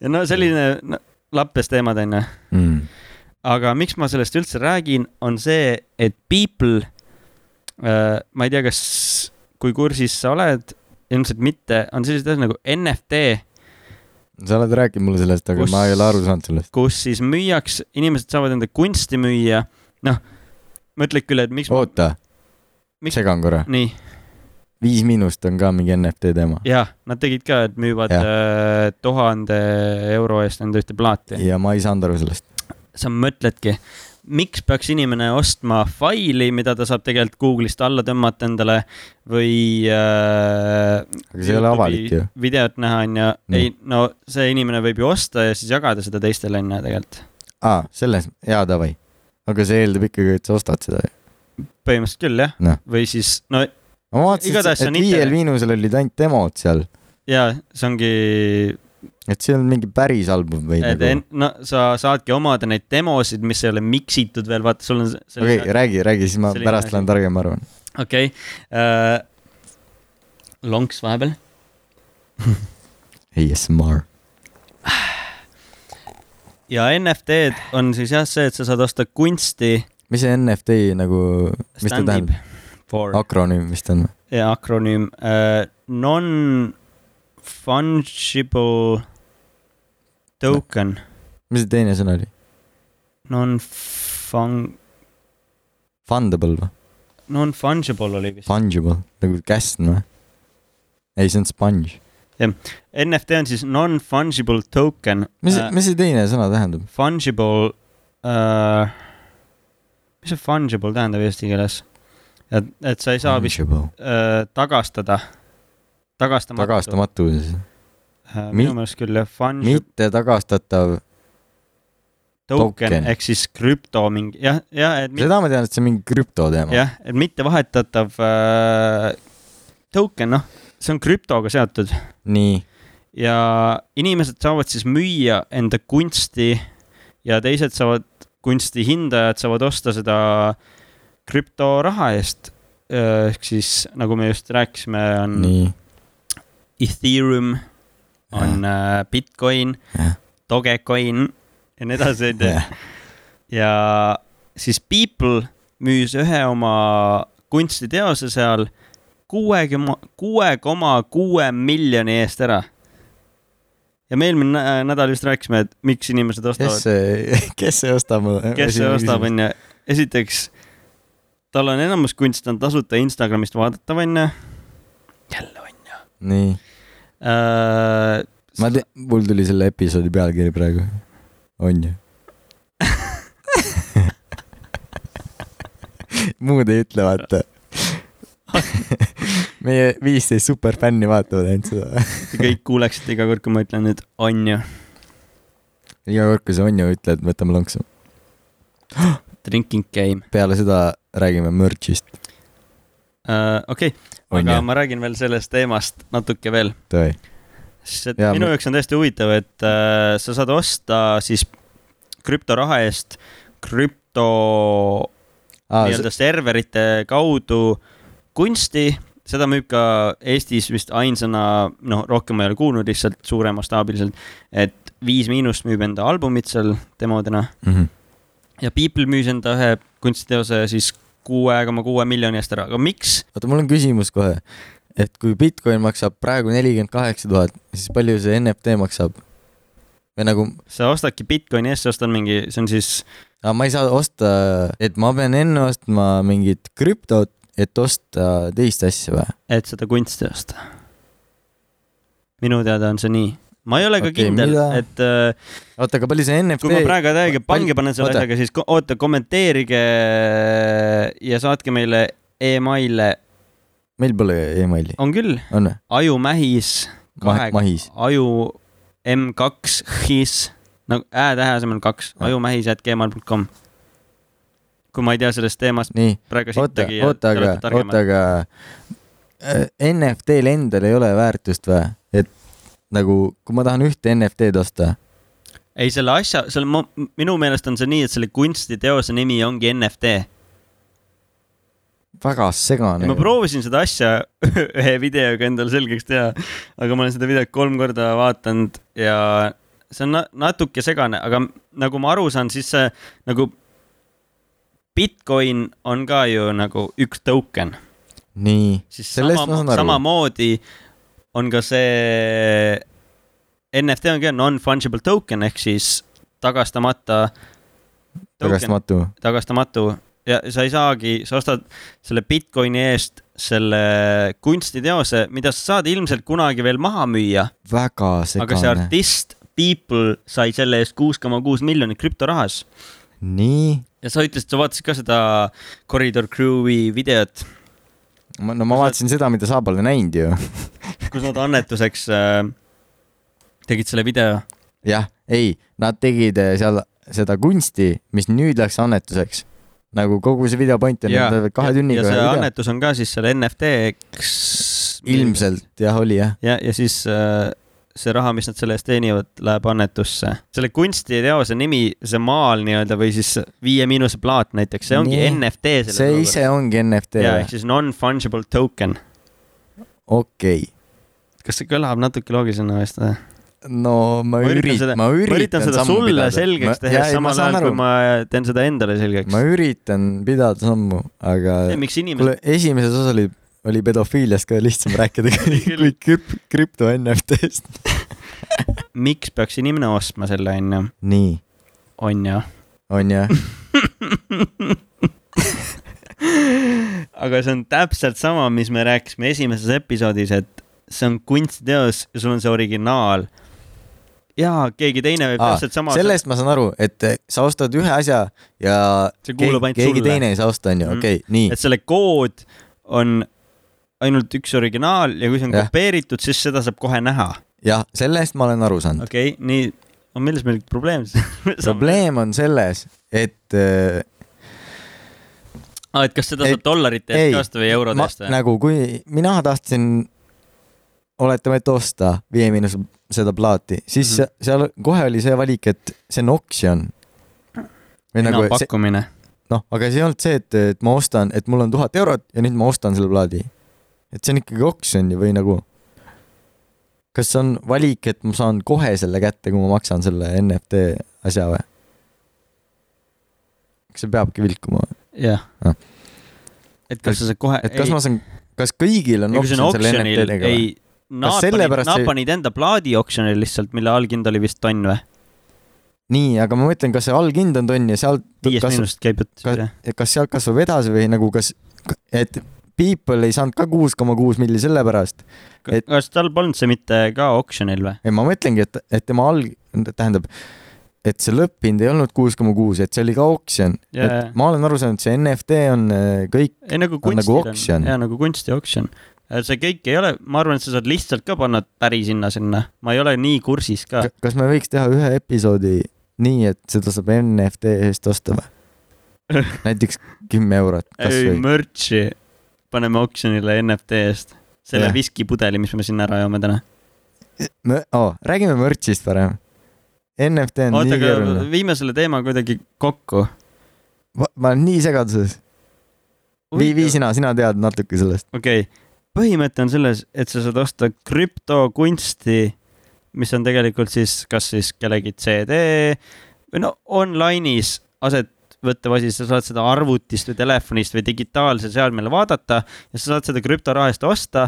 ja no selline no, lappes teemad onju , Mm. aga miks ma sellest üldse räägin , on see , et People äh, , ma ei tea , kas , kui kursis sa oled , ilmselt mitte , on sellised asjad nagu NFT , sa oled rääkinud mulle sellest , aga Kus- ma ei ole aru saanud sellest . kus siis müüakse , inimesed saavad enda kunsti müüa , noh , ma ütleks küll , et miks ma , Mm. oota , Miks- segan korra . nii . Viis Miinust on ka mingi NFT teema . jah , nad tegid ka , et müüvad Jah. äh, tuhande euro eest enda ühte plaati . ja ma ei saanud aru sellest . sa mõtledki , miks peaks inimene ostma faili , mida ta saab tegelikult Google'ist alla tõmmata endale või äh, . Aga see ei ole avalik ju. . videot näha on ju , Nii. ei no see inimene võib ju osta ja siis jagada seda teistele on ju tegelikult . aa , selles , jaa , davai . aga see eeldab ikkagi , et sa ostad seda . põhimõtteliselt küll jah Noh. või siis no ma vaatasin , Igatahes see et on Viiel internet. Miinusel olid ainult demod seal , ja see ongi et see on mingi päris album või et en- nagu . no sa saadki omada neid demosid , mis ei ole miksitud veel , vaata , sul on . okei , räägi , räägi , siis ma selline pärast asi. lähen targem arvan . okei okay. , lonks vahepeal . ASMR . ja NFT-d on siis jah see , et sa saad osta kunsti , mis see NFT nagu , mis ta Stand-up. tähendab ? for Ak akronüüm vist on või ? ja akronüüm uh, , non-fungible token , mis see teine sõna oli ? non-fung- , Fundable või ? non-fungible oli vist . Fungible , nagu käsn või ? ei , see on sponge . NFT on siis non-fungible token . mis , mis see teine sõna tähendab ? Fungible uh, , mis see fungible tähendab eesti keeles ? et , et sa ei saa vist uh, tagastada , tagastamatu . tagastamatus , uh, . Mi- minu meelest küll jah , fungible mitte tagastatav , token, token. token. ehk siis krüpto mingi jah , jah , et mi- seda ma tean , et see on mingi krüptoteema . jah , et mitte vahetatav uh, token , noh , see on krüptoga seotud . nii , ja inimesed saavad siis müüa enda kunsti ja teised saavad , kunsti hindajad saavad osta seda krüptoraha eest . ehk siis nagu me just rääkisime , on nii , Ethereum , on äh, Bitcoin Jah. , Dogecoin ja nii edasi , onju . ja siis People müüs ühe oma kunstiteose seal kuuekümne , kuue koma kuue miljoni eest ära . ja me eelmine nä- nädal just rääkisime , et miks inimesed kes ostavad , see , kes see ostab ? kes see ostab ,. onju . esiteks , tal on enamus kunst on tasuta Instagramist vaadatav , onju . jälle , onju . nii , Äh, ma tean , mul tuli selle episoodi pealkiri praegu . on ju ? (laughs) muud ei ütle , vaata . (laughs) meie viisteist superfänni vaatavad ainult seda . Te kõik kuuleksite iga kord , kui ma ütlen nüüd onju , iga kord , kui sa on ju ütled , võtame lonksu . drinking game peale seda räägime merch'ist . uh, . okei okay, , on aga ju ? ma räägin veel sellest teemast natuke veel , tõe . sest et Jaa, minu ma- jaoks on täiesti huvitav , et uh, sa saad osta siis krüptoraha eest krüpto ah, aa , nii-öelda serverite kaudu kunsti , seda müüb ka Eestis vist ainsana , noh , rohkem ma ei ole kuulnud , lihtsalt suuremastaabiliselt , et Viis Miinust müüb enda albumit seal demodena Mhm. ja People müüs enda ühe kunstiteose siis kuue koma kuue miljoni eest ära , aga miks ? oota , mul on küsimus kohe , et kui Bitcoin maksab praegu nelikümmend kaheksa tuhat , siis palju see NFT maksab ? või nagu , sa ostadki Bitcoini eest , sa ostad mingi , see on siis , ma ei saa osta , et ma pean enne ostma mingit krüptot , et osta teist asja või ? et seda kunsti osta . minu teada on see nii . ma ei ole ka Okei, okay, kindel mida- , et äh, oota , aga palju see NFT kui ma praegu täiega pange panen selle oota. asjaga , siis ko- oota , kommenteerige ja saatke meile emaile , meil pole emaili , on küll , on või ? ajumähis Kahe... kaheksa- mahis , aju M2 his , nagu ä-tähe asemel kaks , Ah. ajumähis.gmail.com . kui ma ei tea sellest teemast nii , praegu oota sittagi ,. oota , aga , oota , aga äh, NFT-l endal ei ole väärtust või ? et nagu , kui ma tahan ühte NFT-d osta , ei , selle asja , selle , minu meelest on see nii , et selle kunstiteose nimi ongi NFT . väga segane . ma proovisin seda asja (laughs) ühe videoga endale selgeks teha , aga ma olen seda videot kolm korda vaadanud ja see on na natuke segane , aga m- nagu ma aru saan , siis see nagu Bitcoin on ka ju nagu üks token , nii siis Sellest ma saan sama, aru. samamoodi on ka see NFT on ka non-fungible token ehk siis tagastamata token tagastamatu . tagastamatu ja sa ei saagi , sa ostad selle Bitcoini eest selle kunstiteose , mida sa saad ilmselt kunagi veel maha müüa , väga aga see segane . artist People sai selle eest kuus koma kuus miljonit krüptorahas . nii , ja sa ütlesid , sa vaatasid ka seda Corridor Crewi videot , no ma vaatasin seda , mida sa pole näinud ju . kus nad annetuseks äh, tegid selle video . jah , ei , nad tegid eh, seal seda kunsti , mis nüüd läks annetuseks . nagu kogu see video point on , nad teevad kahe tunniga ja see ühe video annetus on ka siis selle NFT-ks . ilmselt jah , oli jah . ja , ja siis äh, see raha , mis nad selle eest teenivad , läheb annetusse . selle kunstiteose nimi , see maal nii-öelda või siis Viie Miinuse plaat näiteks , see ongi Nii. nee. NFT . see ise ongi NFT jaa , ehk või ? siis non-fungible token . okei . kas see kõlab natuke loogilisena vist või ? no ma Ma üritan üritan seda- , ma ma üritan üritan seda sammu sulle pidada. pidada. selgeks Ma- teha jaa, , ei, ma samal saan ajal aru. kui ma teen seda endale selgeks ma . üritan pidada sammu , aga miks inimesed , kuule , esimeses osas oli , oli pedofiiliast ka lihtsam (laughs) rääkida kui, kui krüp- , krüpto NFT-st . miks peaks inimene ostma selle , onju , nii , onju . on jah ? aga see on täpselt sama , mis me rääkisime esimeses episoodis , et see on kunstiteos ja sul on see originaal . jaa , keegi teine võib Aa, täpselt sama . selle eest ma saan aru , et sa ostad ühe asja ja See kuulub ainult keegi sulle. teine ei saa osta , onju , Mhm. okei , nii et . selle kood on ainult üks originaal ja kui see on Jah. kopeeritud , siis seda saab kohe näha . jah , selle eest ma olen aru saanud . okei okay, , nii , milles meil probleem siis ? (laughs) probleem on selles , et äh, ah, . et kas seda Ei- saab dollarite ei, eest ka osta või eurode ma, eest või ? nagu kui mina tahtsin , oletame , et osta Viie Miinus seda plaati , siis mm Mhm. -hmm. seal kohe oli see valik , et see on oksjon . või nagu see , pakkumine . noh , aga see ei olnud see , et , et ma ostan , et mul on tuhat eurot ja nüüd ma ostan selle plaadi . et see on ikkagi oksjon ju või nagu . kas on valik , et ma saan kohe selle kätte , kui ma maksan selle NFT asja või ? kas see peabki vilkuma või ? jah Ah. . et kas sa saad kohe , et kas ei. ma saan , kas kõigil on ei , kui see on oksjon selle oksjonil , NFT-dega ei või ?, Kas naapanid , sellepärast see- naapanid enda plaadi oksjonil lihtsalt , mille alghind oli vist tonn või ? nii , aga ma mõtlen , kas see allhind on tonn ja sealt , viiest kas , miinust käib jutt kas- jah . kas sealt kasvab edasi või nagu kas , et People ei saanud ka kuus koma kuus milli selle pärast , et- kas tal polnud see mitte ka oksjonil või ? ei , ma mõtlengi , et , et tema alg- , tähendab , et see lõpphind ei olnud kuus koma kuus , et see oli ka oksjon . Jaa, jaa. et ma olen aru saanud , see NFT on äh, kõik , ei nagu On nagu kunstil oksjon. on , jaa nagu kunsti oksjon . see kõik ei ole , ma arvan , et sa saad lihtsalt ka panna päris hinna sinna , ma ei ole nii kursis ka . kas me võiks teha ühe episoodi nii , et seda saab NFT eest osta või ? (laughs) näiteks kümme eurot ei , kasvõi . merch'i paneme oksjonile NFT eest . selle Jah. viskipudeli , mis me sinna ära joome täna . Oh, räägime merch'ist parem . NFT on oota , nii aga keeruline . viime selle teema kuidagi kokku . ma olen nii segaduses . vii , vii sina , sina tead natuke sellest . okei okay. , põhimõte on selles , et sa saad osta krüptokunsti , mis on tegelikult siis kas siis kellegi CD või no online'is aset võttev asi , sa saad seda arvutist või telefonist või digitaalsel seadmel vaadata ja sa saad seda krüptoraha eest osta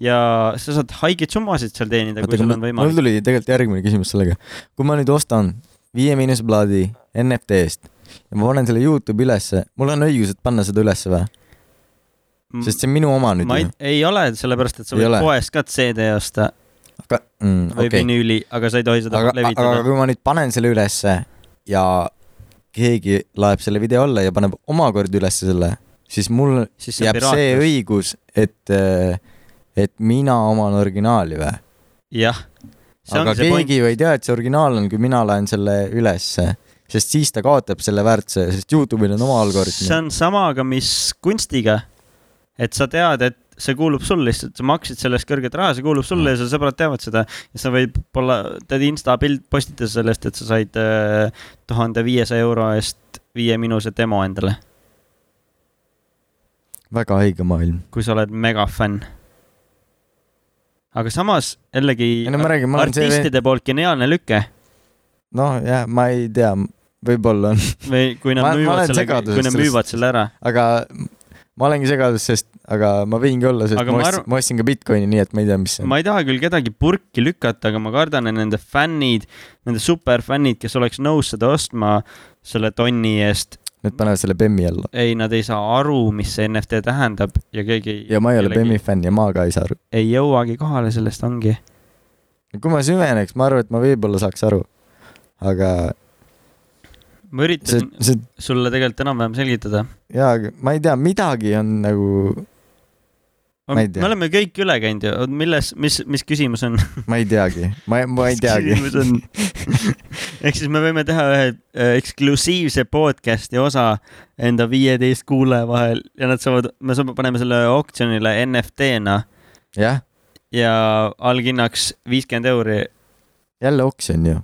ja sa saad haigeid summasid seal teenida , kui sul on mul võimalik . tuli tegelikult järgmine küsimus sellega . kui ma nüüd ostan Viie Miinuse plaadi NFT eest ja ma panen selle Youtube'i ülesse , mul on õigus , et panna seda ülesse või ? sest see on minu oma nüüd Mm. ma ei ju ., ei ole , sellepärast et sa Ei võid ole. poest ka CD osta aga , või okei , vinüüli , aga sa ei tohi seda aga , aga levitada . kui ma nüüd panen selle ülesse ja keegi laeb selle video alla ja paneb omakorda ülesse selle , siis mul siis see on jääb see piraatlus . õigus , et , et mina oman originaali või ? jah . aga keegi ju ei tea , et see originaal on , kui mina laen selle ülesse , sest siis ta kaotab selle väärtuse , sest Youtube'il on oma see algoritm . on samaga , mis kunstiga . et sa tead , et see kuulub sulle lihtsalt , sa maksid selle eest kõrget raha , see kuulub sulle ja su sõbrad teavad seda . ja sa võid olla , teed insta pilt , postita sellest , et sa said äh, tuhande viiesaja euro eest viie minuse demo endale , väga haige maailm . kui sa oled megafänn . aga samas jällegi ei no ma räägin , ma olen see , artistide poolt geniaalne lüke noh jah , ma ei tea , võib-olla on , või kui nad Ma- ma müüvad olen selle , segaduses kui nad sellest- müüvad selle ära . aga ma olengi segadus , sest , aga ma võingi olla , sest Aga aga ma ma ostsin , ma ostsin ka Bitcoini , nii et ma ei tea , mis see on . ma ei taha küll kedagi purki lükata , aga ma kardan , et nende fännid , nende superfännid , kes oleks nõus seda ostma selle tonni eest , Nad panevad selle Bemmi alla . ei , nad ei saa aru , mis see NFT tähendab ja keegi ja ma ei ole Bemmi fänn ja ma ka ei saa aru . ei jõuagi kohale , sellest ongi . kui ma süveneks , ma arvan , et ma võib-olla saaks aru . aga ma see üritasin , see sulle tegelikult enam-vähem selgitada . jaa , ma ei tea , midagi on nagu , Ma me ei tea. oleme kõik üle käinud ju , milles , mis , mis küsimus on ? ma ei teagi , ma , ma ei teagi . küsimus on , (laughs) ehk siis me võime teha ühe äh, eksklusiivse podcast'i osa enda viieteist kuulaja vahel ja nad saavad , me saame , paneme selle oktsionile NFT-na jah , ja allhinnaks viiskümmend euri . jälle oksjon ju ,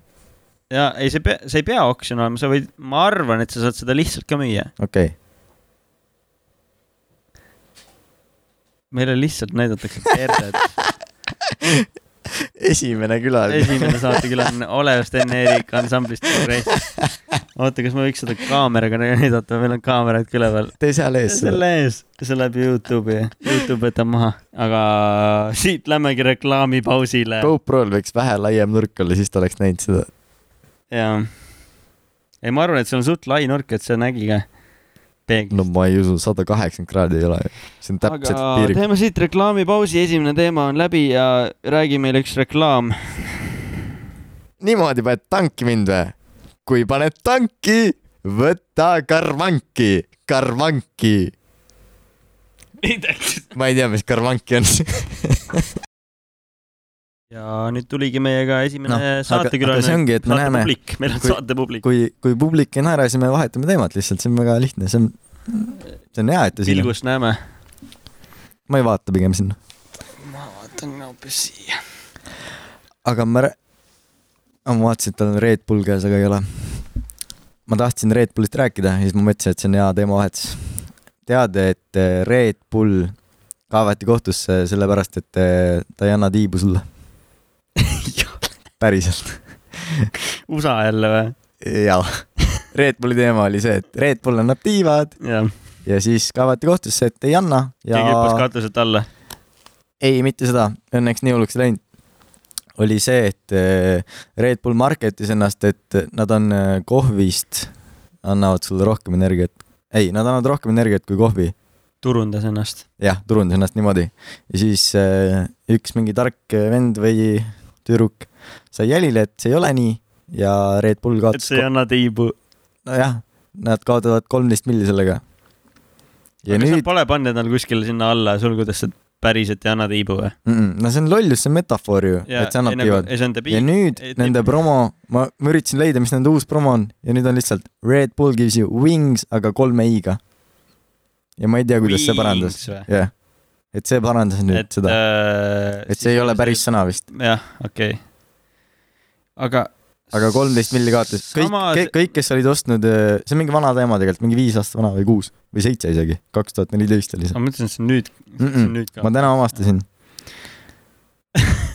ja ei , see pea , see ei pea oktsion olema , sa võid , ma arvan , et sa saad seda lihtsalt ka müüa . okei okay. . meile lihtsalt näidatakse (laughs) perset . esimene külaline . esimene saatekülaline Olev Sten-Erik ansamblist (laughs) nagu Progress . oota , kas ma võiks seda kaameraga näidata , meil on kaamerad ka üleval . tee seal ees seda . selle ees , see läheb Youtube'i , Youtube võtab maha , aga siit lähmegi reklaamipausile GoPro-l võiks vähe laiem nurk olla , siis ta oleks näinud seda . ja . ei , ma arvan , et see on suht lai nurk , et see nägi ka . peeglist no ma ei usu , sada kaheksakümmend kraadi ei ole , see on täpselt aga piir . teeme siit reklaamipausi , esimene teema on läbi ja räägi meile üks reklaam . niimoodi paned tanki mind või ? kui paned tanki , võta karvanki , karvanki . ma ei tea , mis karvanki on . (laughs) ja nüüd tuligi meiega esimene Noh, no, aga- aga see saatekülaline . ongi , et me näeme , publik , meil on kui- saatepublik . kui , kui publik ei naera , siis me vahetame teemat lihtsalt , see on väga lihtne , see on , see on hea , et te siin , pilgust näeme . ma ei vaata pigem sinna . ma vaatan hoopis siia . aga ma , ma vaatasin , et tal on Red Bull käes , aga ei ole . ma tahtsin Red Bullist rääkida ja siis ma mõtlesin , et see on hea teemavahetus . teada , et eh, Red Bull kaevati kohtusse sellepärast , et eh, ta ei anna tiibu (laughs) sulle . päriselt , USA jälle või ? jaa . Red Bulli teema oli see , et Red Bull annab tiivad jah , ja siis kaevati kohtusse , et ei anna ja keegi hüppas katuselt alla . ei , mitte seda , õnneks nii hulluks ei läinud . oli see , et eh, Red Bull marketis ennast , et nad on eh, kohvist , annavad sulle rohkem energiat . ei , nad annavad rohkem energiat kui kohvi . turundas ennast . jah , turundas ennast niimoodi . ja siis eh, üks mingi tark eh, vend või tüdruk sai jälile , et see ei ole nii ja Red Bull et kaotas see , ei anna tiibu . nojah , nad kaotavad kolmteist milli sellega . ja kas nüüd nad , pole pannud endal kuskile sinna alla sulgudesse , et päriselt ei anna tiibu või ? no see on lollus , see on metafoor ju , et see annab tiivad . ei , nagu see on ja debiil . nüüd ei, nende tipp- promo , ma , ma üritasin leida , mis nende uus promo on ja nüüd on lihtsalt Red Bull gives you wings , aga kolme i-ga . ja ma ei tea , kuidas see parandas ,. jah . et see parandas nüüd et, seda , äh, et see ei ole päris . sõna vist , jah , okei okay. . aga . aga kolmteist milli kaotas . kõik Samas- , kõik , kes olid ostnud , see on mingi vana teema tegelikult , mingi viis aastat vana või kuus või seitse isegi , kaks tuhat neliteist oli see . ma mõtlesin , et see on nüüd mm , -mm. Mm-mm. nüüd ka ma . täna avastasin .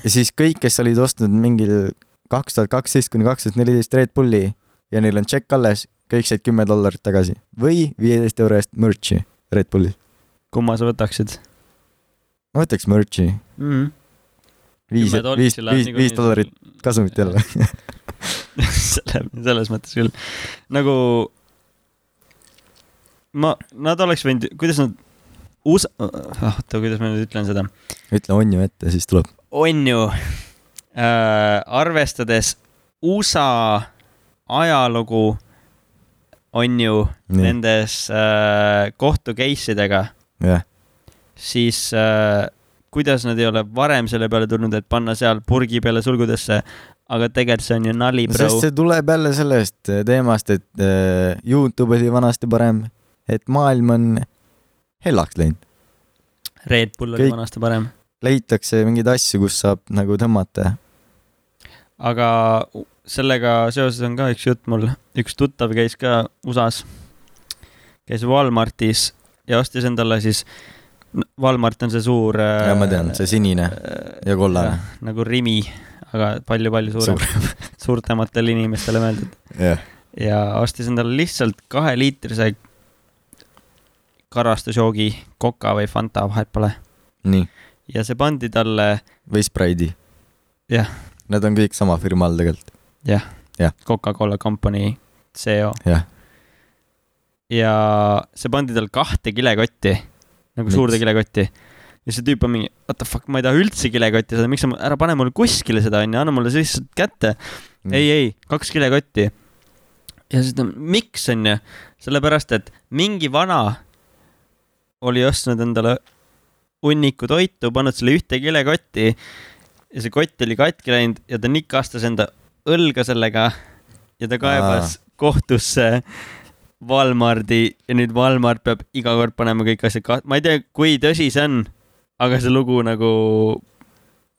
ja siis kõik , kes olid ostnud mingil kaks tuhat kaksteist kuni kaks tuhat neliteist Red Bulli ja neil on tšekk alles , kõik said kümme dollarit tagasi või viieteist euro eest merch'i Red Bulli . kumma sa võtaksid ma võtaks merch'i , mm ? viis , viis , viis , viis dollarit . kasumit jälle . (laughs) selle , selles mõttes küll . nagu ma , nad oleks võinud , kuidas nad , USA , oota , kuidas ma nüüd ütlen seda , (laughs) ütle on ju ette , siis tuleb . on ju äh, , arvestades USA ajalugu , on ju nii , nendes äh, kohtu case idega , jah , siis äh, kuidas nad ei ole varem selle peale tulnud , et panna seal purgi peale sulgudesse , aga tegelikult see on ju nali , bro sest . see tuleb jälle sellest eh, teemast , et äh, Youtube oli vanasti parem , et maailm on hellaks läinud . Red Bull oli kõik- vanasti parem , leitakse mingeid asju , kus saab nagu tõmmata . aga u- sellega seoses on ka üks jutt mul , üks tuttav käis ka USA-s , käis Walmartis ja ostis endale siis , Walmart on see suur . ja ma Äh, tean , see sinine ja kollane . nagu Rimi , aga palju-palju suurem , suurtematele inimestele mõeldud . jah , ja ostis endale lihtsalt kaheliitrise karastusjoogi , Coca või Fanta , vahet pole . nii , ja see pandi talle või Spraidi . Jah. . Nad on kõik sama firma all tegelikult , Coca-Cola Company CO jah . ja see pandi tal kahte kilekotti , nagu Miks? suurde kilekotti . ja see tüüp on mingi , what the fuck , ma ei taha üldse kilekotti seda , miks sa , ära pane mulle kuskile seda , onju , anna mulle see lihtsalt kätte . ei , ei , kaks kilekotti . ja siis ta , miks onju , sellepärast et mingi vana oli ostnud endale hunniku toitu , pannud selle ühte kilekotti ja see kott oli katki läinud ja ta nikastas enda õlga sellega ja ta kaebas Aa. kohtusse Valmardi ja nüüd Valmart peab iga kord panema kõik asjad ka- , ma ei tea , kui tõsi see on , aga see lugu nagu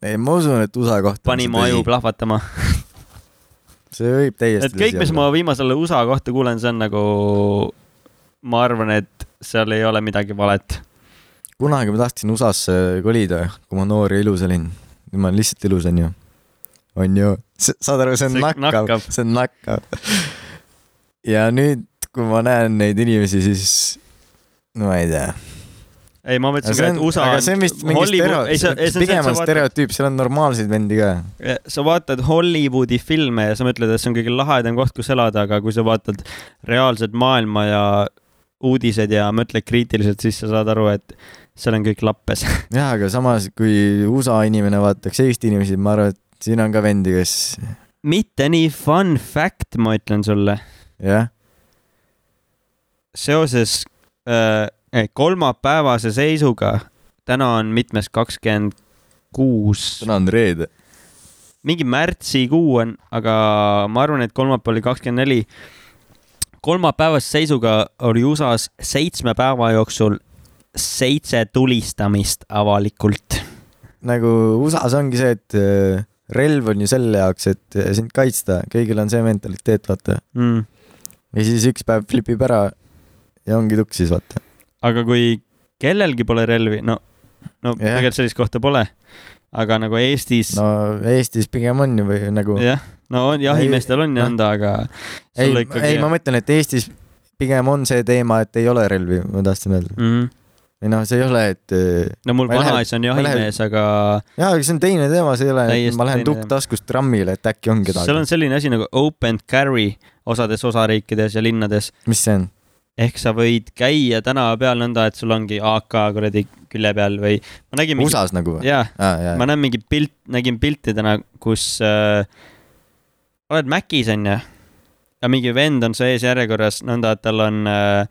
ei , ma usun , et USA kohta . pani mu aju . plahvatama . see võib täiesti et kõik , mis ma . viimasel USA kohta kuulen , see on nagu , ma arvan , et seal ei ole midagi valet . kunagi ma tahtsin USA-sse kolida , kui ma noor ja ilus olin . nüüd ma olen lihtsalt ilus , onju . onju , saad aru , see on See nakkav nakkab. , see on nakkav . (laughs) ja nüüd , kui ma näen neid inimesi , siis no ma ei tea ei , ma mõtlesin see ka , on et , USA aga see on vist mingi stereotüüp , pigem on stereo . stereotüüp , seal on normaalseid vendi ka . sa vaatad Hollywoodi filme ja sa mõtled , et see on kõige lahedam koht , kus elada , aga kui sa vaatad reaalset maailma ja uudised ja mõtled kriitiliselt , siis sa saad aru , et seal on kõik lappes . (laughs) jah , aga samas , kui USA inimene vaataks Eesti inimesi , ma arvan , et siin on ka vendi , kes mitte nii fun fact , ma ütlen sulle , jah , seoses äh, eh, kolmapäevase seisuga , täna on mitmes kakskümmend kuus , täna on reede . mingi märtsikuu on , aga ma arvan , et kolmapäev oli kakskümmend neli . kolmapäevase seisuga oli USA-s seitsme päeva jooksul seitse tulistamist avalikult . nagu USA-s ongi see , et äh, relv on ju selle jaoks , et äh, sind kaitsta , kõigil on see mentaliteet , vaata . Mm. ja siis üks päev flipib ära ja ongi tuksis , vaata . aga kui kellelgi pole relvi , no , no Jah. yeah. tegelikult sellist kohta pole . aga nagu Eestis no, , no Eestis pigem on ju või nagu , jah , no on jahimeestel on Ei, ja anda , aga ei sulle , ikkagi- ei , ma mõtlen , et Eestis pigem on see teema , et ei ole relvi , ma tahtsin öelda . mm, või noh , see ei ole , et äh, no mul Ma ei lähe- vanaisa ma on ei lähe- jahimees , aga jaa , aga see on teine teema , see ei ole , Täiesti ma lähen teine tukk teema. taskust trammile , et äkki on kedagi seal on . selline asi nagu open carry osades osariikides ja linnades . mis see on ? ehk sa võid käia tänava peal nõnda , et sul ongi AK kuradi külje peal või ma nägin mingi... . USA-s nagu või ? jaa , aa , jaa ma . näen mingi pilt , nägin pilti täna , kus äh, oled Mäkis onju ja mingi vend on su ees järjekorras nõnda , et tal on äh,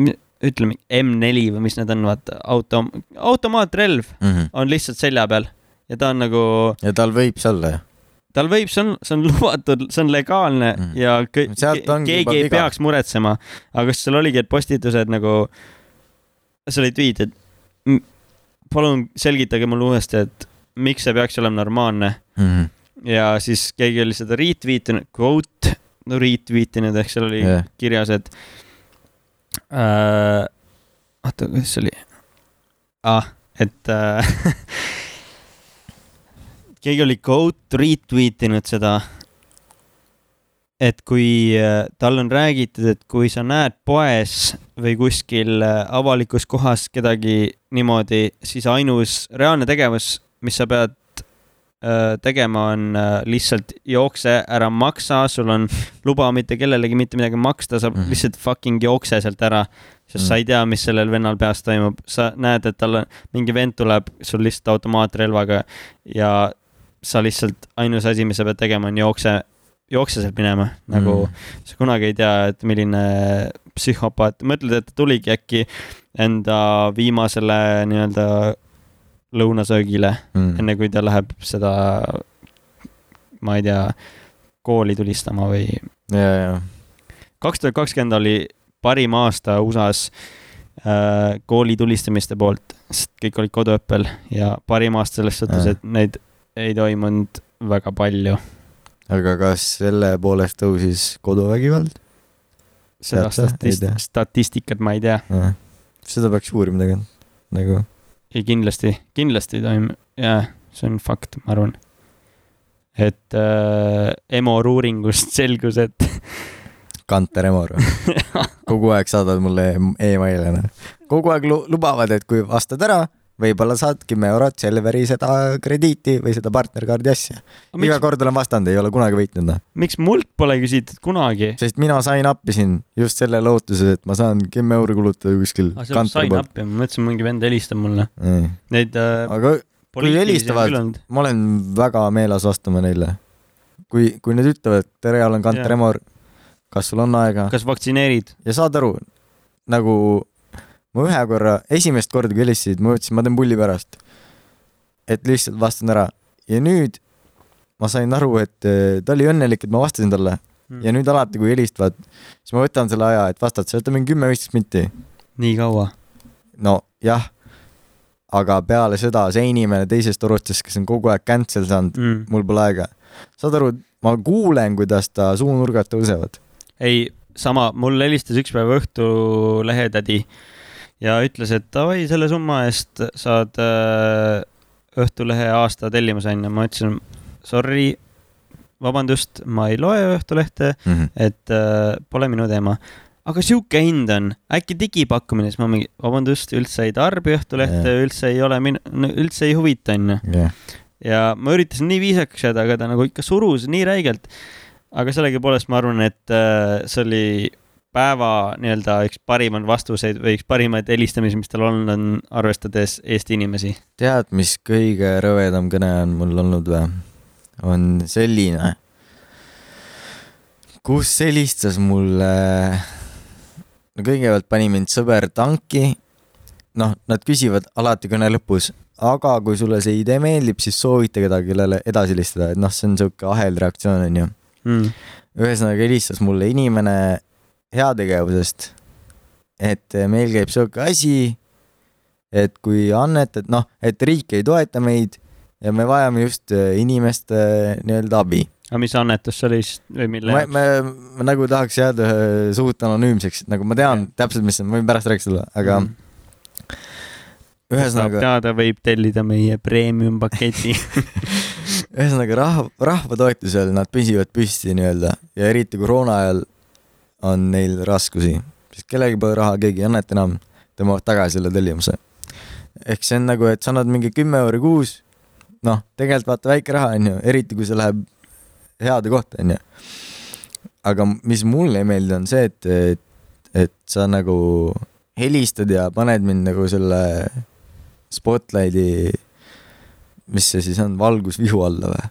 mi- ütleme M4 või mis need on , vaata auto , automaatrelv on lihtsalt selja peal ja ta on nagu , Mhm. ja tal võib see olla ju . tal võib , see on , see on (laughs) lubatud , see on legaalne mm. Mm. ja kõ- Sealt ongi juba keegi ei viga. peaks muretsema . aga kas seal oligi , et postitused nagu , seal olid viited . palun selgitage mulle uuesti , et miks see peaks olema normaalne Mhm. ja siis keegi oli seda retweet inud , quote , no retweet inud ehk seal oli yeah. jah , kirjas , et äh, . oota , kuidas see oli ah, ? et äh, (laughs) keegi oli quote retweet inud seda . et kui äh, tal on räägitud , et kui sa näed poes või kuskil äh, avalikus kohas kedagi niimoodi , siis ainus reaalne tegevus , mis sa pead äh, tegema on äh, lihtsalt jookse , ära maksa , sul on luba mitte kellelegi mitte midagi maksta , sa Mhm. lihtsalt fucking jookse sealt ära . sest Mm. sa ei tea , mis sellel vennal peas toimub , sa näed , et tal on mingi vend tuleb sul lihtsalt automaatrelvaga ja sa lihtsalt , ainus asi , mis sa pead tegema , on jookse , jookse sealt minema nagu mm. sa kunagi ei tea , et milline psühhopaat , mõtled , et ta tuligi äkki enda viimasele nii-öelda lõunasöögile , Mm. Mhm. enne kui ta läheb seda , ma ei tea , kooli tulistama või ja , ja , kaks tuhat kakskümmend oli parim aasta USA-s äh, kooli tulistamiste poolt , sest kõik olid koduõppel ja parim aasta selles suhtes , Äh. et neid ei toimunud väga palju . aga kas selle poolest tõusis koduvägivald ? seda Tead sa? Ei statist- tea. statistikat ma ei tea seda peaks uurima tegelikult , nagu ei kindlasti , kindlasti ei toimu , jaa , see on fakt , ma arvan . et äh, EMOR uuringust (laughs) selgus , et Kanter (laughs) Emor . kogu aeg saadavad mulle em- email'e , noh . kogu aeg lu- lubavad , et kui vastad ära , võib-olla saad kümme eurot Selveri seda krediiti või seda partnerkaardi asja . iga miks, kord olen vastanud , ei ole kunagi võitnud , noh . miks mult pole küsitud kunagi ? sest mina sain appi siin just selle lootuse , et ma saan kümme euri kulutada kuskil aa , Ah, see on Kanteri sign poolt . up ja ma mõtlesin , mingi vend helistab mulle . Ei. Neid äh, aga poliitilisi on helistavad- küll olnud . ma olen väga meeles vastama neile . kui , kui nad ütlevad , tere , olen Kanter Jaa. Emor , kas sul on aega kas vaktsineerid ? ja saad aru , nagu ma ühe korra , esimest korda kui helistasid , ma mõtlesin , ma teen pulli pärast . et lihtsalt vastan ära ja nüüd ma sain aru , et eh, ta oli õnnelik , et ma vastasin talle Mm. ja nüüd alati , kui helistavad , siis ma võtan selle aja , et vastad , see võtab mingi kümme-viisteist minti . nii kaua ? no jah , aga peale seda see inimene teisest arvutist , kes on kogu aeg cancel saanud , Mm. mul pole aega . saad aru , ma kuulen , kuidas ta suunurgad tõusevad . ei , sama , mulle helistas üks päev Õhtulehe tädi ja ütles , et davai , selle summa eest saad äh, Õhtulehe aasta tellimuse onju . ma ütlesin sorry , vabandust , ma ei loe Õhtulehte , et äh, pole minu teema . aga sihuke hind on , äkki digipakkumine , siis ma mingi , vabandust , üldse ei tarbi Õhtulehte , üldse ei ole minu , üldse ei huvita onju . jah , ja ma üritasin nii viisakaks jääda , aga ta nagu ikka surus nii räigelt . aga sellegipoolest ma arvan , et äh, see oli päeva nii-öelda üks parimaid vastuseid või üks parimaid helistamisi , mis tal olnud on , arvestades Eesti inimesi . tead , mis kõige rõvedam kõne on mul olnud või ? on selline , kus helistas mulle , no kõigepealt pani mind sõber tanki , noh , nad küsivad alati kõne lõpus , aga kui sulle see idee meeldib , siis soovita kedagi , kellele edasi helistada , et noh , see on sihuke ahelreaktsioon , onju . Hmm. Mm. ühesõnaga helistas mulle inimene heategevusest , et eh, meil käib sihuke asi , et kui annetad , noh , et riik ei toeta meid ja me vajame just eh, inimeste nii-öelda abi . aga mis annetus see oli siis või mille ma , ma , ma nagu tahaks jääda eh, suht anonüümseks , nagu ma tean täpselt , mis see on , ma võin pärast rääkida sulle , aga Mm. saab ühesõnaga , teada , võib tellida meie premium (laughs) paketi . ühesõnaga rahva , rahva toetusel nad püsivad püsti nii-öelda ja eriti koroona ajal on neil raskusi , sest kellelgi pole raha , keegi ei anneta enam , tõmbavad tagasi selle tellimuse . ehk see on nagu , et sa annad mingi kümme euri kuus , noh , tegelikult vaata väike raha on ju , eriti kui see läheb heade kohta on ju . aga mis mulle ei meeldi , on see , et, et , et sa nagu helistad ja paned mind nagu selle spotlighti , mis see siis on , valgusvihu alla või ?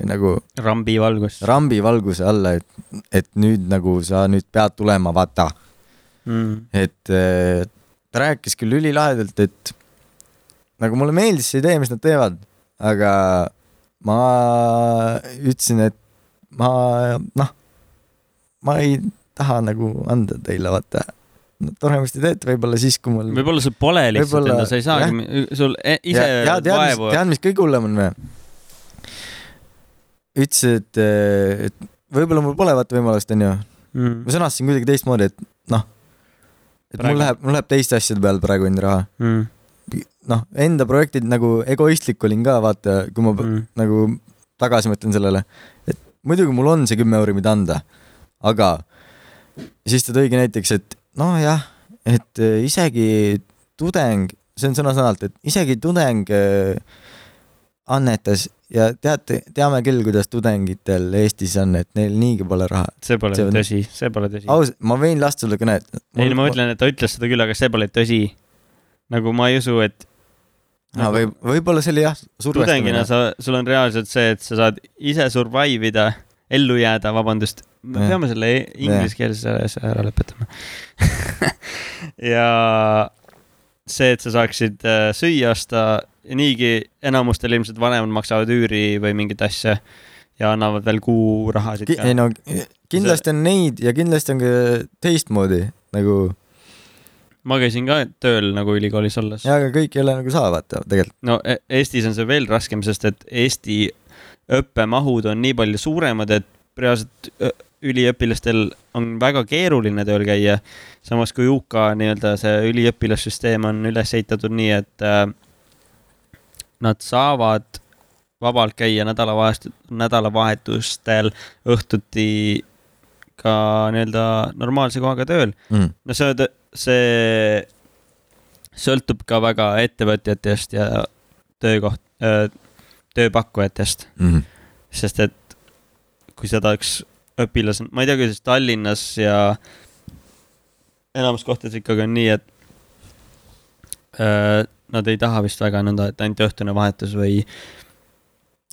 või nagu rambi valgus rambi valguse alla , et , et nüüd nagu sa nüüd pead tulema , vaata . mm. . et eh, ta rääkis küll ülilahedalt , et nagu mulle meeldis see idee , mis nad teevad , aga ma ütlesin , et ma noh , ma ei taha nagu anda teile , vaata . no tore , mis te teete , võib-olla siis , kui mul võib-olla sul pole lihtsalt Hmm. Võib-olla- enda , sa ei jah. saagi , sul e- ise ja, ja, ja, tead, vaevu mis- . tead , mis kõige hullem on või ? ütles , et , et võib-olla mul pole vaata võimalust , onju . Mm. ma sõnastasin kuidagi teistmoodi , et noh , et praegu. Praegu- mul läheb , mul läheb teiste asjade peale praegu enda raha . Mm. noh , enda projektid nagu egoistlik olin ka , vaata , kui ma mm. Mm. nagu tagasi mõtlen sellele , et muidugi mul on see kümme euri , mida anda , aga siis ta tõigi näiteks , et nojah , et eh, isegi tudeng , see on sõna-sõnalt , et isegi tudeng eh, annetas ja teate , teame küll , kuidas tudengitel Eestis on , et neil niigi pole raha . see pole See see on- tõsi , see pole tõsi . ausalt , ma võin lasta sulle kõnet . ei no ma . ütlen , et ta ütles seda küll , aga see pole tõsi . nagu ma ei usu , et No, või võib-olla see oli jah , survestamine . tudengina sa , sul on reaalselt see , et sa saad ise survive ida , ellu jääda , vabandust . me Jah. peame selle e- ingliskeelse asja ära lõpetama . (laughs) ja see , et sa saaksid äh, süüa osta , niigi enamustel ilmselt vanemad maksavad üüri või mingit asja ja annavad veel kuu rahasid ei no kindlasti on neid ja kindlasti on ka teistmoodi nagu , ma käisin ka tööl nagu ülikoolis olles . aga kõik ei ole nagu saa vaata tegelikult . no E- Eestis on see veel raskem , sest et Eesti õppemahud on nii palju suuremad , et reaalselt ö- üliõpilastel on väga keeruline tööl käia . samas kui UK nii-öelda see üliõpilassüsteem on üles ehitatud nii , et äh, nad saavad vabalt käia nädalavahetust , nädalavahetustel õhtuti ka nii-öelda normaalse kohaga tööl . Mm. no see , see sõltub ka väga ettevõtjatest ja töökoht , tööpakkujatest , Mm. sest et kui sa tahaks õpilasena , ma ei tea , kuidas Tallinnas ja enamus kohtades ikkagi on nii , et öö, nad ei taha vist väga nõnda , et ainult õhtune vahetus või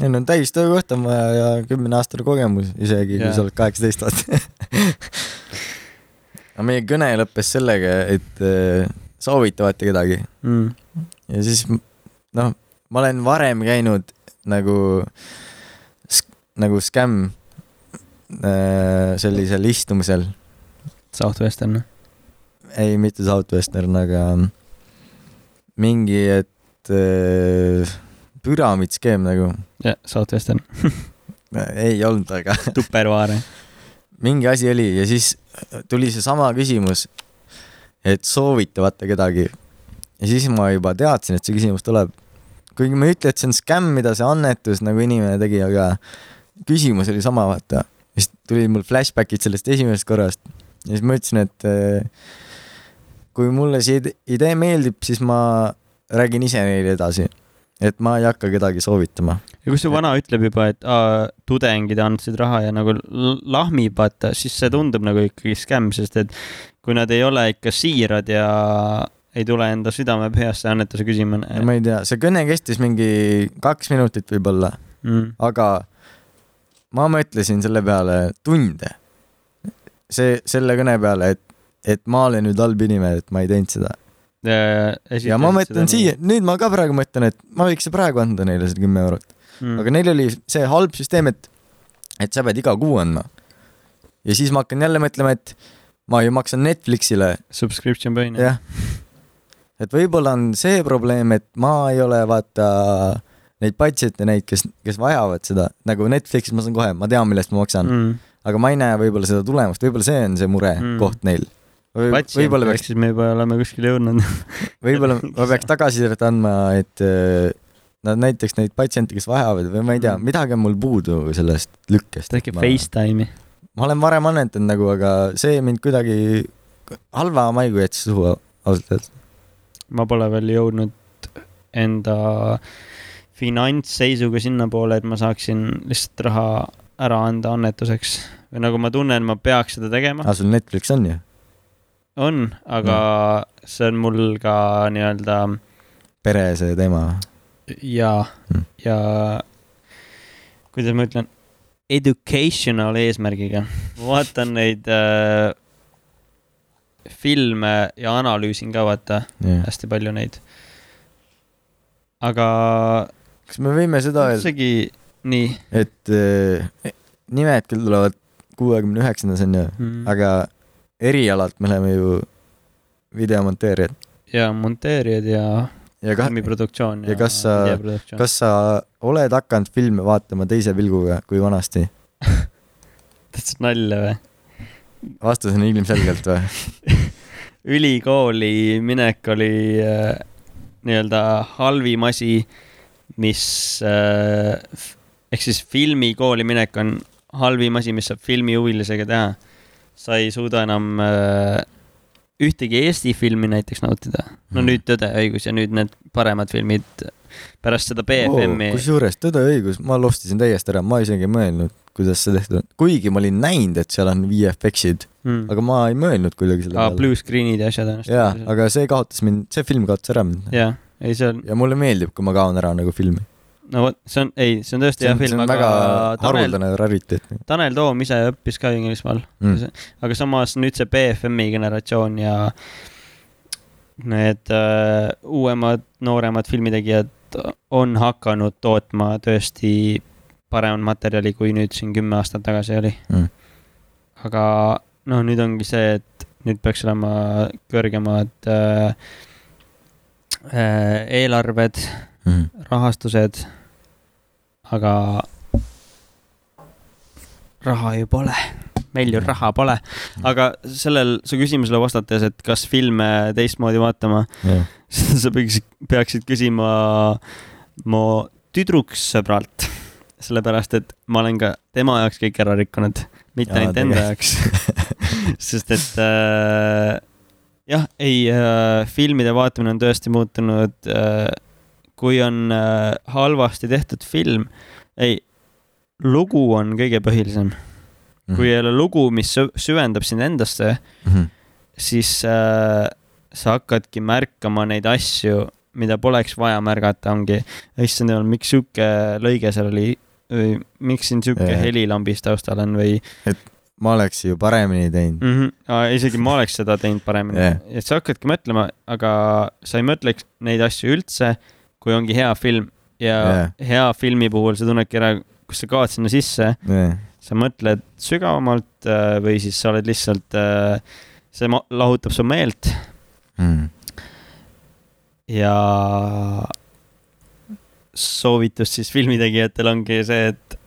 ei no täis töökoht on vaja ja kümne aastane kogemus , isegi kui Jaa. sa oled kaheksateist aastat . (laughs) aga meie kõne lõppes sellega , et eh, soovita vaata kedagi mm, ja siis noh , ma olen varem käinud nagu , nagu skämm eh, sellisel istumisel , Southwestern . ei , mitte Southwestern , aga mingi , et eh, püramiidskeem nagu , jah , Southwestern , (laughs) ei olnud , aga Tupperware . mingi asi oli ja siis tuli seesama küsimus , et soovita vaata kedagi . ja siis ma juba teadsin , et see küsimus tuleb . kuigi ma ei ütle , et see on skämm , mida see annetus nagu inimene tegi , aga küsimus oli sama , vaata . siis tulid mul flashbackid sellest esimesest korrast ja siis ma ütlesin , et eh, kui mulle see ide- idee meeldib , siis ma räägin ise neile edasi . et ma ei hakka kedagi soovitama . ja kui see vana ütleb juba , et aa, tudengid andsid raha ja nagu l- lahmib , vaata , siis see tundub nagu ikkagi skämm , sest et kui nad ei ole ikka siirad ja ei tule enda südamepeast see annetuse küsimine . ma ei tea , see kõne kestis mingi kaks minutit võib-olla , Mm. aga ma mõtlesin selle peale tunde . see , selle kõne peale , et , et ma olen nüüd halb inimene , et ma ei teinud seda . ja ma mõtlen nagu, siia , nüüd ma ka praegu mõtlen , et ma võiks praegu anda neile selle kümme eurot , mm. aga neil oli see halb süsteem , et , et sa pead iga kuu andma . ja siis ma hakkan jälle mõtlema , et ma ju maksan Netflixile , subscription põhiline . jah . et võib-olla on see probleem , et ma ei ole vaata neid patsiente , neid , kes , kes vajavad seda , nagu Netflixis ma saan kohe , ma tean , millest ma maksan mm. , Mm. aga ma ei näe võib-olla seda tulemust , võib-olla see on see Mm. murekoht mm. neil Või, . patsient võib-olla , peaks (laughs) ehk , siis me juba oleme kuskile jõudnud . võib-olla ma peaks tagasisidet andma , et äh, nad näiteks neid patsiente , kes vajavad või ma ei tea , Mm. midagi on mul puudu sellest lükkest . tehke Facetime'i . ma olen varem annetanud nagu , aga see mind kuidagi halva maigu jättis suhu ausalt öeldes . ma pole veel jõudnud enda finantsseisuga sinnapoole , et ma saaksin lihtsalt raha ära anda annetuseks või nagu ma tunnen , ma peaks seda tegema , aga sul Netflix on ju ? on , aga see on mul ka nii-öelda pere see teema . ja Mm. , ja kuidas ma ütlen , educational eesmärgiga . ma vaatan neid äh, filme ja analüüsin ka vaata kas hästi palju neid . aga me võime seda öelda , isegi nii et äh, nimed küll tulevad kuuekümne üheksandas on ju , mm. . aga erialalt me oleme ju videomonteerijad ja monteerijad ja ja ka- , filmiproduktsioon ja kas sa- videoproduktsioon . kas sa oled hakanud filme vaatama teise pilguga kui vanasti ? täitsa nalja või ? vastus on ilmselgelt (laughs) või ? ülikooli minek oli äh, nii-öelda halvim asi , mis äh, f- ehk siis filmikooli minek on halvim asi , mis saab filmihuvilisega teha . sa ei suuda enam äh, ühtegi Eesti filmi näiteks nautida . no Mhm. nüüd Tõde ja õigus ja nüüd need paremad filmid pärast seda BFM-i . Oh, kusjuures Tõde ja õigus , ma lostisin täiesti ära , ma isegi ei mõelnud , kuidas see tehtud on , kuigi ma olin näinud , et seal on VFX-id , Mm. aga ma ei mõelnud kuidagi selle aa , blue screen'id ja asjad on . jaa , aga see kaotas mind , see film kaotas ära mind . jah , ei see on , ja mulle meeldib , kui ma kaon ära nagu filmi . no vot , see on , ei , see on tõesti see hea on, see film , on aga väga Tanel , haruldane Mm, rariteet mm. . Tanel Toom ise õppis ka Inglismaal , aga samas nüüd see BFM-i generatsioon ja need uh, uuemad , nooremad filmitegijad on hakanud tootma tõesti paremat materjali , kui nüüd siin kümme aastat tagasi oli Mm. . aga noh , nüüd ongi see , et nüüd peaks olema kõrgemad uh, eelarved Mm. rahastused , aga raha ju pole , meil ju raha pole . aga sellel , su küsimusele vastates , et kas filme teistmoodi vaatama , jah. seda sa peaksid , peaksid küsima mu tüdruksõbralt , sellepärast et ma olen ka tema jaoks kõik ära rikkunud , mitte Jaa, ainult enda jaoks . (laughs) sest et äh, jah , ei äh, , filmide vaatamine on tõesti muutunud äh, , kui on äh, halvasti tehtud film , ei , lugu on kõige põhilisem . Mm. kui ei ole lugu , mis sü- süvendab sind endasse , Mhm. siis äh, sa hakkadki märkama neid asju , mida poleks vaja märgata , ongi , issand jumal , miks sihuke lõige seal oli või miks siin sihuke Jah. helilambis taustal on või ma oleks ju paremini teinud . mm , -hmm, isegi ma oleks seda teinud paremini Jah. yeah. , et sa hakkadki mõtlema , aga sa ei mõtleks neid asju üldse , kui ongi hea film ja yeah. Jah. hea filmi puhul sa tunnedki ära , kus sa kaod sinna sisse sa mõtled sügavamalt äh, või siis sa oled lihtsalt , see ma- lahutab su meelt Mm. ja soovitus siis filmitegijatel ongi see , et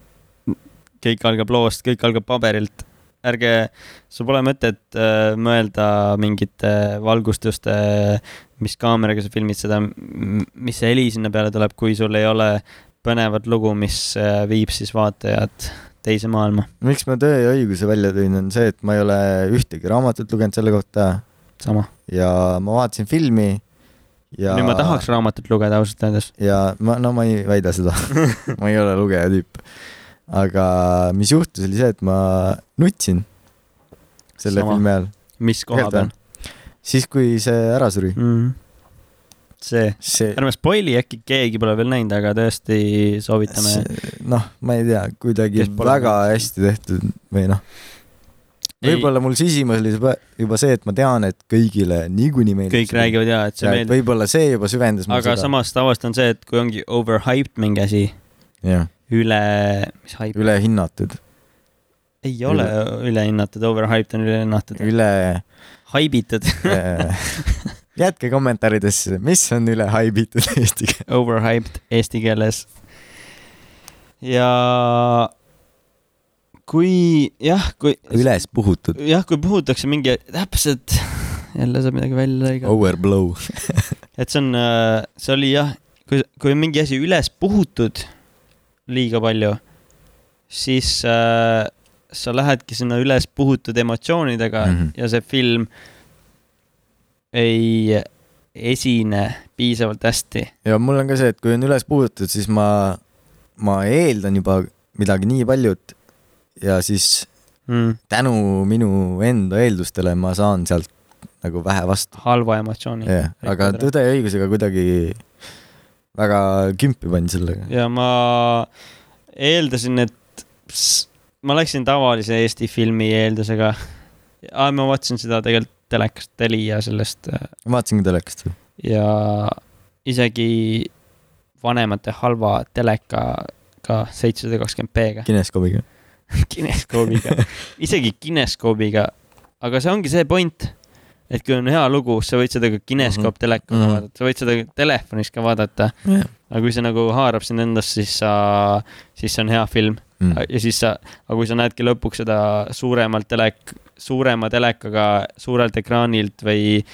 kõik algab loost , kõik algab paberilt . ärge , sul pole mõtet äh, mõelda mingite valgustuste , mis kaameraga sa filmid seda , mis see heli sinna peale tuleb , kui sul ei ole põnevat lugu , mis äh, viib siis vaatajad teise maailma , miks ma Tõe ja õiguse välja tõin , on see , et ma ei ole ühtegi raamatut lugenud selle kohta sama . ja ma vaatasin filmi ja nüüd ma tahaks raamatut lugeda ausalt öeldes . ja ma , no ma ei väida (laughs) seda , ma ei ole lugeja tüüp . aga mis juhtus , oli see , et ma nutsin selle Sama. Sama. filmi ajal , mis koha Tegelikult peal siis kui see ära suri . mm. ? see , see , ärme spoili , äkki keegi pole veel näinud , aga tõesti soovitame . noh , ma ei tea , kuidagi Kes pole väga hästi tehtud või noh , ei , võib-olla mul sisimas oli juba, juba see , et ma tean , et kõigile niikuinii meeldib . kõik . räägivad ja et see ja et meeldib , võib-olla see juba süvendas mul aga seda . samas tavaliselt on see , et kui ongi overhyped mingi asi , jah , üle , mis hype , ülehinnatud , ei ole ülehinnatud , overhyped on ülehinnatud , üle haibitud äh, jätke kommentaaridesse , mis on üle haibitud eesti keeles . (laughs) overhyped eesti keeles . ja kui jah , kui üles puhutud , jah , kui puhutakse mingi täpselt , jälle saab midagi välja lõigata oh. , overblow . et see on , see oli jah , kui , kui on mingi asi üles puhutud liiga palju , siis äh, sa lähedki sinna üles puhutud emotsioonidega mm Mhm. -hmm. ja see film ei esine piisavalt hästi . ja mul on ka see , et kui on üles puhutud , siis ma , ma eeldan juba midagi nii paljut ja siis Mm. tänu minu enda eeldustele ma saan sealt nagu vähe vastu . halva emotsiooni jah , aga Rikkud ära. Tõde ja õigusega kuidagi väga kümpi pandi sellega . ja ma eeldasin , et s- ma läksin tavalise Eesti filmi eeldusega . aa , ma vaatasin seda tegelikult telekast Telia sellest äh, ma vaatasingi telekast . ja isegi vanemate halva telekaga seitsesada kakskümmend p-ga , kineskoobiga . kineskoobiga , (laughs) isegi kineskoobiga . aga see ongi see point , et kui on hea lugu , sa võid seda ka kineskoop Mhm. telekaga mm Mhm. -hmm. vaadata , sa võid seda telefonis ka vaadata , aga kui see nagu haarab sind endast , siis sa , siis see on hea film . Mm, ja siis sa , aga kui sa näedki lõpuks seda suuremalt telek , suurema telekaga suurelt ekraanilt või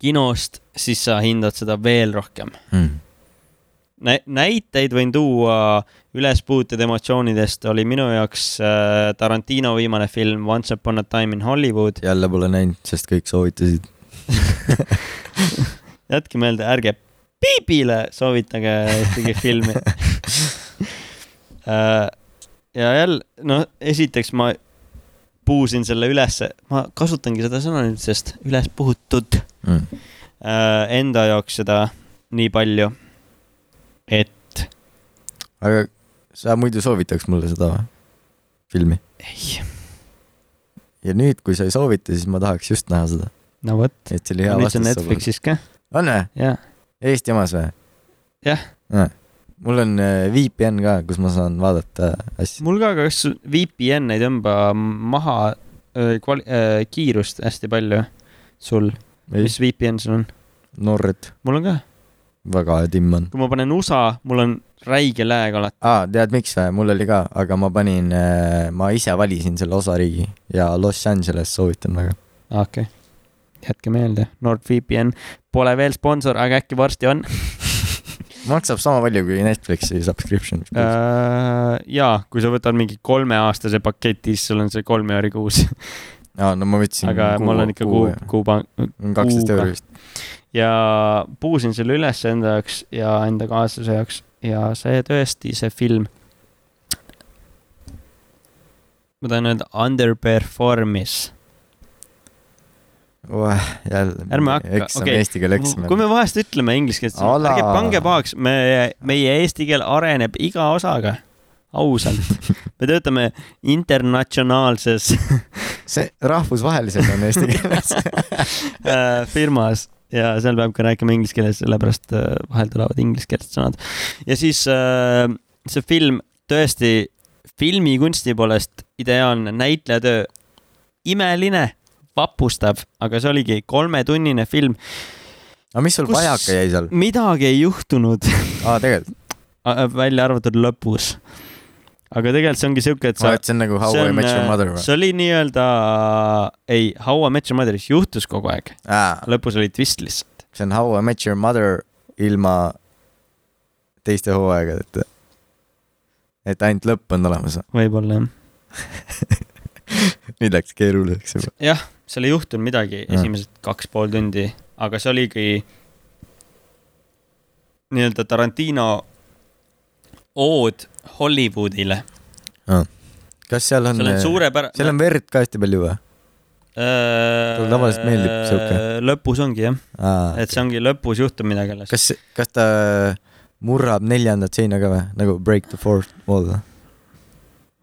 kinost , siis sa hindad seda veel rohkem mm. Nä . näiteid võin tuua ülespuutud emotsioonidest , oli minu jaoks äh, Tarantino viimane film Once upon a time in Hollywood . jälle pole näinud , sest kõik soovitasid . jätke meelde , ärge piibile soovitage (laughs) ühtegi filmi . ja jälle , no esiteks ma puusin selle ülesse , ma kasutangi seda sõna nüüd , sest üles puhutud Mm. äh, enda jaoks seda nii palju , et aga sa muidu soovitaks mulle seda või? filmi ? ei , ja nüüd , kui sa ei soovita , siis ma tahaks just näha seda , no vot , et see oli hea nüüd see on vastus . Netflixis ka , on või ? jaa . Eesti omas või ? Jah. . mul on äh, VPN ka , kus ma saan vaadata asju . mul ka , aga kas sul VPN ei tõmba maha öö, kvali- , kiirust hästi palju sul , mis VPN sul on ? Norred , mul on ka väga timm on . kui ma panen USA , mul on räige lääg alati . aa , tead miks või ? mul oli ka , aga ma panin , ma ise valisin selle osariigi ja Los Angeles soovitan väga . okei okay. , jätke meelde , NordVPN pole veel sponsor , aga äkki varsti on . maksab sama palju kui Netflixi subscription . Äh, ja kui sa võtad mingi kolmeaastase paketi , siis sul on see kolme euri kuus , aa , Ah, no ma võtsin . aga mul on ikka kuu , kuupang- kaksteist kuuga. euri vist . ja puusin selle üles enda jaoks ja enda kaaslase jaoks ja see tõesti , see film . ma tahan öelda underperform'is jälle . Ärme hakka- eksam okei. okay. , eesti keele eksam . kui me vahest ütleme inglise keeles , Ala. ärge pange pahaks , me , meie eesti keel areneb iga osaga , ausalt . me töötame (laughs) internatsionaalses (laughs) see rahvusvaheliselt on eesti keeles . äh, firmas ja seal peab ka rääkima inglise keeles , sellepärast äh, vahel tulevad ingliskeelsed sõnad . ja siis äh, see film tõesti filmikunsti poolest ideaalne näitlejatöö , imeline , vapustav , aga see oligi kolmetunnine film , aga Ah, mis sul Kus- vajaka jäi seal ? midagi ei juhtunud . aa , tegelikult , A- välja arvatud lõpus . aga tegelikult see ongi siuke , et sa , see on nagu How see I on, äh, Met Your Mother või ? see oli nii-öelda , ei , How I Met Your Mother'is juhtus kogu aeg , aa , lõpus oli twist lihtsalt . see on How I Met Your Mother ilma teiste hooaegadeta . et ainult lõpp on olemas . (laughs) võib-olla jah . nüüd läks keeruliseks juba . Mm. seal ei juhtunud midagi Jah. esimesed kaks pool tundi , aga see oligi nii-öelda Tarantino ood Hollywoodile . kas seal on äh, seal on , suurepärane . seal on verd ka hästi palju või ? Talle tavaliselt meeldib sihuke. lõpus ongi jah , et see ongi lõpus juhtub midagi alles . kas , kas ta äh, murrab neljandat seina ka või , nagu Break the fourth wall või ?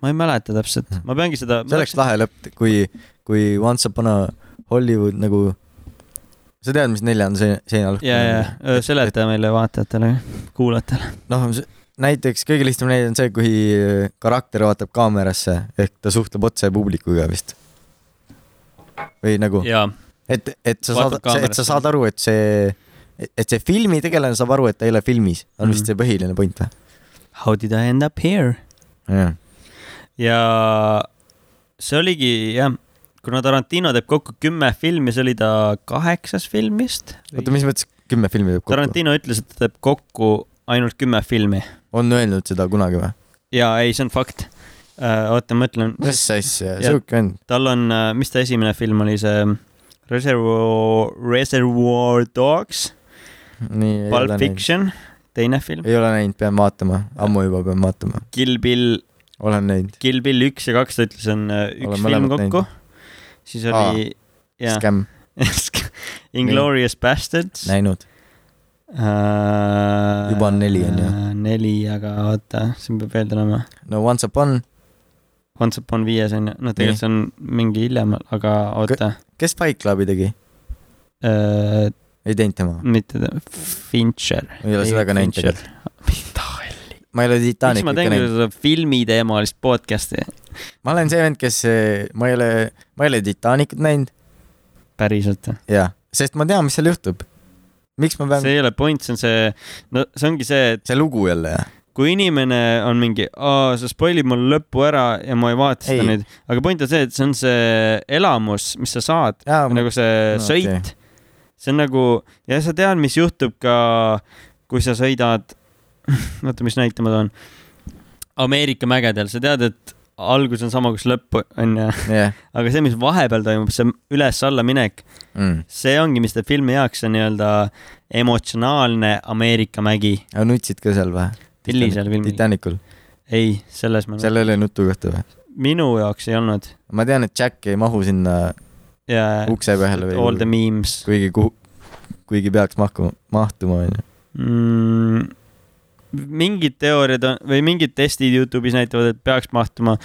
ma ei mäleta täpselt , ma peangi seda . Mm. see oleks lahe lõpp , kui , kui Once upon a Hollywood nagu , sa tead , mis neljanda se- seina lõhk ja , Äh, ja seleta meile vaatajatele , kuulajatele . noh , näiteks kõige lihtsam näide on see , kui äh, karakter vaatab kaamerasse ehk ta suhtleb otse publikuga vist . või nagu , jaa , et , et sa Vaatab saad , et kaamerasse. sa saad aru , et see , et see filmitegelane saab aru , et ta ei ole filmis , on Mhm. vist see põhiline point või ? How did I end up here ? jah , ja see oligi jah , kuna Tarantino teeb kokku kümme filmi , see oli ta kaheksas film vist . oota , mis mõttes kümme filmi teeb kokku ? Tarantino ütles , et ta teeb kokku ainult kümme filmi on öelnud seda kunagi või ? ja ei , see on fakt . oota , ma ütlen , mis asja , Jah. sihuke on . tal on , mis ta esimene film oli , see ähm, Reservoir , Reservoir Dogs , nii , ei Pulp ole näinud . Fiction , teine film , ei ole näinud , pean vaatama , ammu juba pean vaatama , Kill Bill , olen näinud . Kill Bill üks ja kaks , ta ütles , on äh, üks Olen film mõlemat kokku . siis oli jaa , Scam , Inglorious Bastards . näinud . Juba on neli, on ju. äh, neli , aga oota , siin peab veel tulema . no Once upon , Once upon viies on ju , no Nii. tegelikult see on mingi hiljem , aga oota , kes Fight Clubi tegi ? ei teinud tema ? mitte ta- Fincher . ei ole seda ka näinud tegelikult . (laughs) ma ei ole miks ma Titanicut ka teen näinud . seda filmiteemalist podcast'i ? ma olen see vend , kes , ma ei ole , ma ei ole Titanicut näinud päriselt . ja , sest ma tean , mis seal juhtub . miks ma see pean , ei ole point , see on see , no see ongi see , et see lugu jälle , kui inimene on mingi , aa , sa spoilid mul lõppu ära ja ma ei vaata seda Ei. nüüd . aga point on see , et see on see elamus , mis sa saad , jaa . nagu see no no, sõit okei. okay. . see on nagu , ja sa tead , mis juhtub ka , kui sa sõidad , (laughs) oota , mis näite ma toon , Ameerika mägedel , sa tead , et algus on sama , kus lõpp on ju , jah , aga see , mis vahepeal toimub , see üles-alla minek , Mm. see ongi , mis teeb filmi heaks , see nii-öelda emotsionaalne Ameerika mägi . aga nutsid ka seal või ? millisel filmil ? Titanicul , ei , selles ma , seal ei ole nutukohta või ? minu jaoks ei olnud . ma tean , et Jack ei mahu sinna ja ukse peale all the või memes kuigi kuhu , kuigi peaks mahkuma , mahtuma onju . mm, . mingid teooriad on, või mingid testid Youtube'is näitavad , et peaks mahtuma ,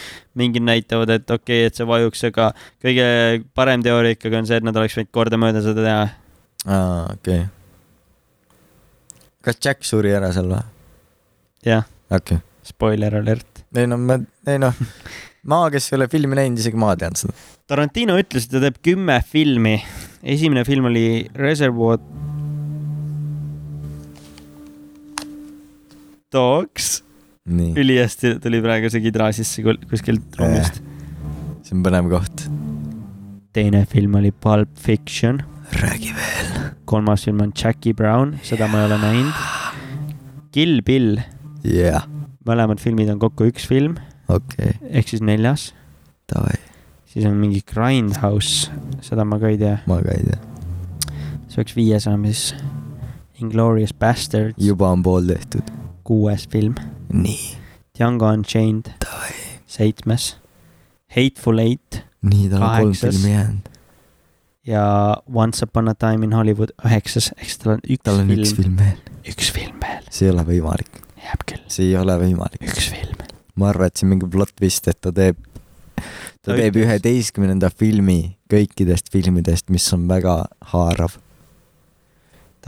mingid näitavad , et okei okay, , et see vajuks , aga kõige parem teooria ikkagi on see , et nad oleks võinud kordamööda seda teha . aa , okei okay. . kas Jack suri ära seal või ? jah , okei okay. . spoiler alert . ei no ma , ei noh , ma , kes ei ole filmi näinud , isegi ma tean seda . Tarantino ütles , et ta teeb kümme filmi . esimene film oli Reservoir Dogs . nii , ülihästi tuli praegu see kidra sisse kul- kuskilt ruumist . see on põnev koht . teine film oli Pulp Fiction , räägi veel . kolmas film on Jackie Brown , seda ma ei ole näinud . Kill Bill , jah , mõlemad filmid on kokku üks film okei , ehk siis neljas , davai , siis on mingi Grindhouse , seda ma ka ei tea , ma ka ei tea . see oleks viies olema siis . Inglorious Bastards , juba on pool tehtud . kuues film , nii , Django Unchained , davai . seitsmes , Hateful Eight nii , tal on kolm Kaheksas. filmi jäänud . ja Once Upon a Time in Hollywood üheksas , ehk siis tal on üks tal on film üks , film veel . üks film veel , see ei ole võimalik , jääb küll , see ei ole võimalik . üks film . ma arvan , et see on mingi plot twist , et ta teeb , ta teeb Aitäh. üheteistkümnenda filmi kõikidest filmidest , mis on väga haarav .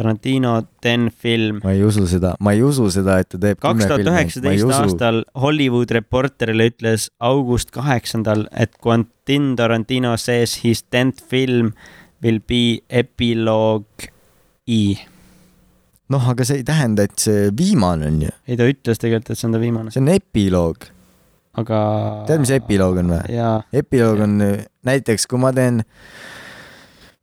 Tarantino Ten film . ma ei usu seda , ma ei usu seda , et ta teeb kaks tuhat üheksateist . aastal Hollywood Reporterile ütles august kaheksandal , et Quentin Tarantino says his tenth film will be E. epilogue i . noh , aga see ei tähenda , et see viimane on ju , ei , ta ütles tegelikult , et see on ta viimane , see on epiloog . aga . tead , mis epiloog on või ? jaa , epiloog on näiteks , kui ma teen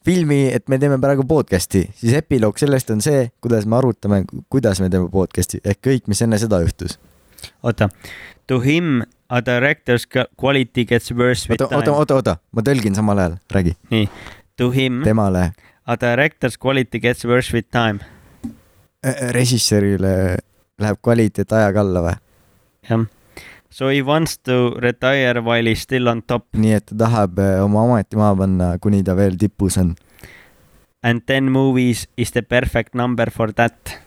filmi , et me teeme praegu podcast'i , siis epiloog sellest on see , kuidas me arutame , kuidas me teeme podcast'i ehk kõik , mis enne seda juhtus . oota . To him a director's ca- quality gets worse with oota , oota , time . oota , oota , ma tõlgin samal ajal , räägi , To him temale a director's quality gets worse with time . režissöörile äh, läheb kvaliteet ajaga alla või ? jah . So he wants to retire while he is still on top nii et ta tahab äh, oma ameti maha panna , kuni ta veel tipus on and ten movies is the perfect number for that .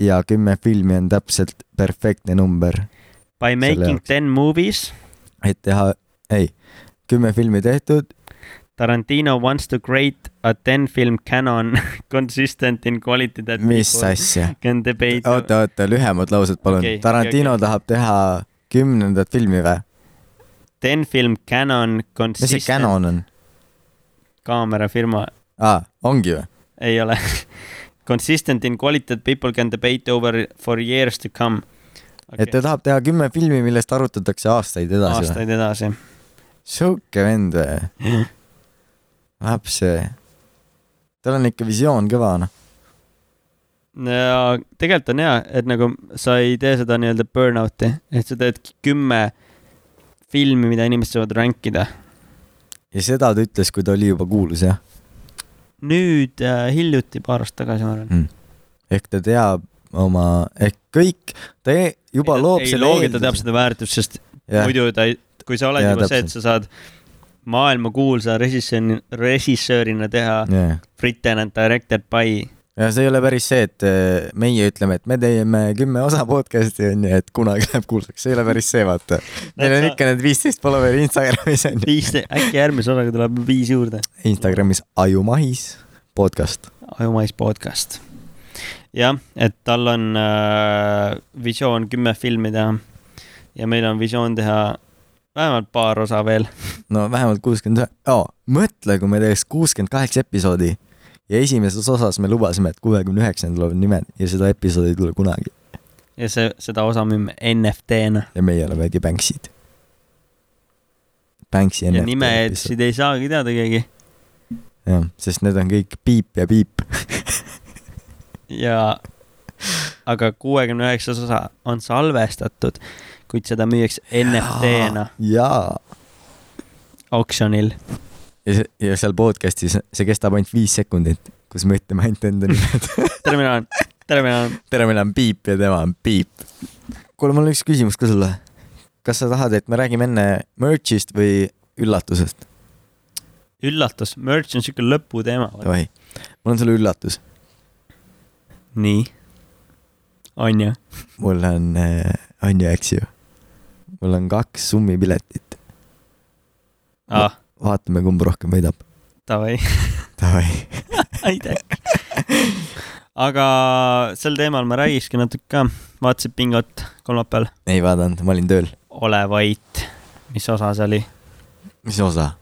ja kümme filmi on täpselt perfektne number , By making jaoks. ten movies , et teha , ei , kümme filmi tehtud Tarantino wants to create a ten film canon (laughs) consistent in quality that mis people (laughs) asja ? can debate . oota , oota , lühemad laused , palun Okei, okay, okei, . Tarantino okay, okay. okei. tahab teha kümnendat filmi või ? ten film canon mis see consistent Canon on ? kaamerafirma aa , ongi või ? ei ole (laughs) consistent in quality that people can debate over for years to come et ta tahab teha kümme filmi , millest arutatakse aastaid edasi või ? aastaid edasi . (laughs) sihuke vend või ? laps see . tal on ikka visioon kõva , noh . ja tegelikult on hea , et nagu sa ei tee seda nii-öelda burnout'i , et sa teed kümme filmi , mida inimesed saavad rank ida . ja seda ta ütles , kui ta oli juba kuulus , jah nüüd äh, hiljuti , paar aastat tagasi , ma arvan . mm. . ehk ta teab oma , ehk kõik , ta e juba ei, loob ei selle loogi , ta teab seda väärtust , sest ja. jah , muidu ta ei , kui sa oled Jaa, ja, juba see , et täpselt. sa saad maailmakuulsa režissööri , režissöörina teha jah . written and directed by , ja see ei ole päris see , et eh, meie ütleme , et me teeme kümme osa podcast'i onju , et kunagi läheb kuulsaks , see ei ole päris see , vaata . Neil on sa- ikka need viisteist followeri Instagramis onju . viis , äkki järgmise osaga tuleb viis juurde . Instagramis ajumahis podcast . ajumais podcast . jah , et tal on äh, visioon kümme filmi teha ja meil on visioon teha vähemalt paar osa veel . no vähemalt kuuskümmend , aa , mõtle , kui me teeks kuuskümmend kaheksa episoodi ja esimeses osas me lubasime , et kuuekümne üheksandal on nimed ja seda episoodi ei tule kunagi ja see , seda osa müüme NFT-na . ja meie olemegi Banksid . Banksi ja enne . nimesid ei saagi teada keegi . jah , sest need on kõik piip ja piip . ja aga kuuekümne üheksas osa on salvestatud , kuid seda müüakse NFT-na jaa oksjonil . ja see , ja seal podcast'is , see kestab ainult viis sekundit , kus me ütleme ainult enda nimed . (laughs) tere , mina olen , tere , mina olen . tere , meil on Piip ja tema on Piip . kuule , mul on üks küsimus ka sulle . kas sa tahad , et me räägime enne merch'ist või üllatusest ? üllatus , merch on siuke lõputeema . Davai , mul on sulle üllatus . nii . on ju ? mul on , on ju , eks ju ? mul on kaks summi piletit , ah , vaatame , kumb rohkem võidab . davai . Davai , aitäh . (laughs) aga sel teemal ma räägikski natuke ka , vaatasin bingot kolmapäeval , ei vaadanud , ma olin tööl . Ole vait , mis osa see oli , mis osa ?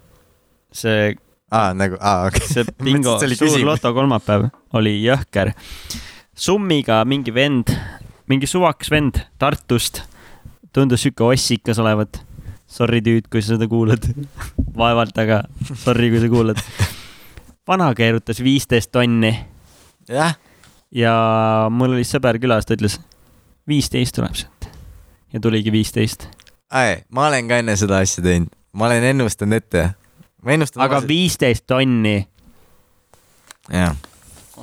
see , aa , nagu , aa , okei . (laughs) see bingo Mõtlesin, et see oli suur küsimus. loto kolmapäev oli jõhker . summiga mingi vend , mingi suvakas vend Tartust , tundus sihuke ossikas olevat . Sorry , tüüd , kui sa seda kuulad . (laughs) vaevalt , aga sorry , kui sa kuulad . vana keerutas viisteist tonni jah , ja mul oli sõber külas , ta ütles viisteist tuleb sealt ja tuligi viisteist , ma olen ka enne seda asja teinud , ma olen ennustanud ette . ma ennustan . aga viisteist tonni . jah ,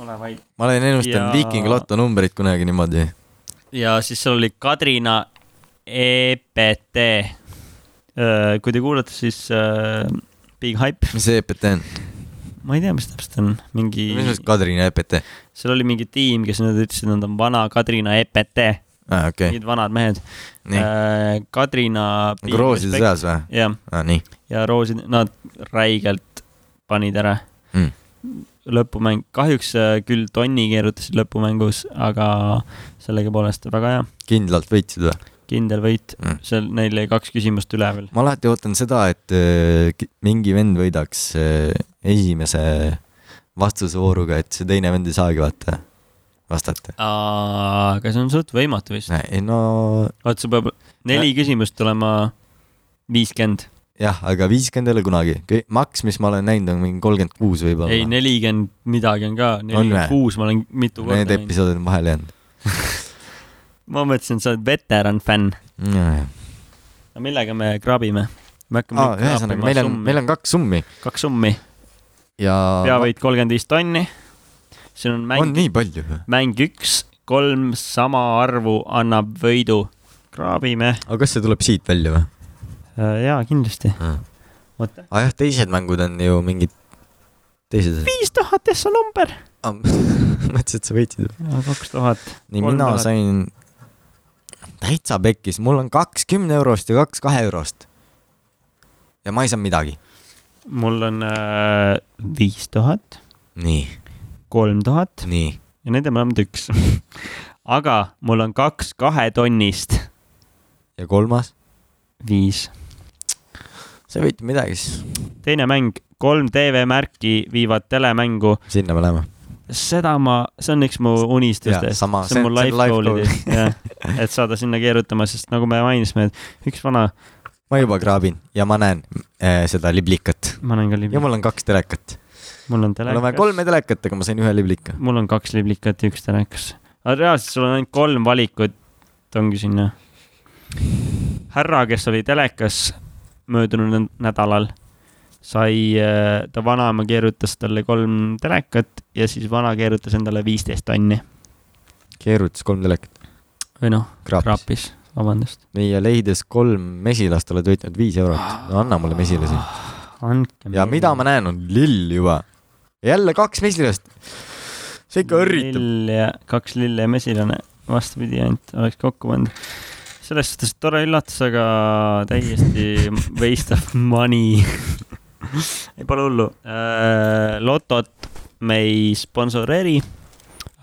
ole vait . ma olen ennustanud Ja- ja... Viiking Lotto numbrit kunagi niimoodi . ja siis seal oli Kadrina E EPT . kui te kuulate , siis öö, Big Hype , mis see EPT on ? ma ei tea , mis täpselt on , mingi mis , mõttes Kadrina E EPT ? seal oli mingi tiim , kes nüüd ütles , et nad on vana Kadrina EPT , aa , Ah, okei , mingid vanad mehed . nii . Kadrina . nagu rooside . seas või ? jah , aa , nii . ja roosid , nad räigelt panid ära Mm. . lõpumäng , kahjuks äh, küll tonni keerutasid lõpumängus , aga sellegipoolest väga hea , kindlalt võitsid või ? kindel võit Mm. mm. , seal neil oli kaks küsimust üle veel . ma alati ootan seda , et äh, ki- mingi vend võidaks äh, esimese vastusevooruga , et see teine vend ei saagi vaata , vastata . aga see on suht võimatu vist . ei no vaata , see peab neli küsimust olema viiskümmend , jah , aga viiskümmend ei ole kunagi , maks , mis ma olen näinud , on mingi kolmkümmend kuus võib-olla . ei nelikümmend midagi on ka , vä? nelikümmend kuus ma olen mitu Need korda näinud . episoodid on vahele jäänud . ma mõtlesin , sa oled veteran fänn . aga millega me kraabime ? me hakkame aa , Ah, ühesõnaga , meil on , meil on kaks summi kaks summi ja peavõit kolmkümmend viis tonni siin on on mäng , nii palju või ? mäng üks , kolm sama arvu annab võidu . kraabime . aga kas see tuleb siit välja või ? Äh, jaa , kindlasti . aa oota . jah , teised mängud on ju mingid teised (laughs) asjad . viis tuhat , see on number . Ah, mõtlesin , et sa võitsid . kaks tuhat . nii , Kolm mina tuhat. sain täitsa pekkis , mul on kaks kümne eurost ja kaks kahe eurost . ja ma ei saanud midagi . mul on äh, viis tuhat , nii , kolm tuhat nii . ja need on mõlemad üks . (laughs) aga mul on kaks kahe tonnist , ja kolmas ? viis . sa ei võitnud midagi siis . teine mäng , kolm TV-märki viivad telemängu , sinna me läheme . seda ma , see on üks mu Jaa, unistustest . sama, see on mul see life on- see on goal life idest , jah . et saada sinna keerutama , sest nagu me mainisime , et üks vana , ma juba kraabin ja ma näen äh, seda liblikat . ma olen ka ja liblik , mul on kaks telekat . mul on mul on vaja telekas , kolme telekat , aga ma sain ühe liblika . mul on kaks liblikat ja üks telekas . aga reaalselt sul on ainult kolm valikut , ongi sinna . härra , kes oli telekas möödunud nä- nädalal , sai , ta vanaema keerutas talle kolm telekat ja siis vana keerutas endale viisteist tonni keerutas kolm telekat . või noh , kraapis . krapis , vabandust . nii , ja leides kolm mesilast oled võitnud viis eurot . no anna mulle mesilasi . andke . ja mida ma näen , on lill juba . jälle kaks mesilast . see ikka õrritab . lill ja kaks lille ja mesilane , vastupidi ainult oleks kokku pandud . selles suhtes tore üllatus , aga täiesti (laughs) waste of money . ei , pole hullu . lotot me ei sponsoreeri ,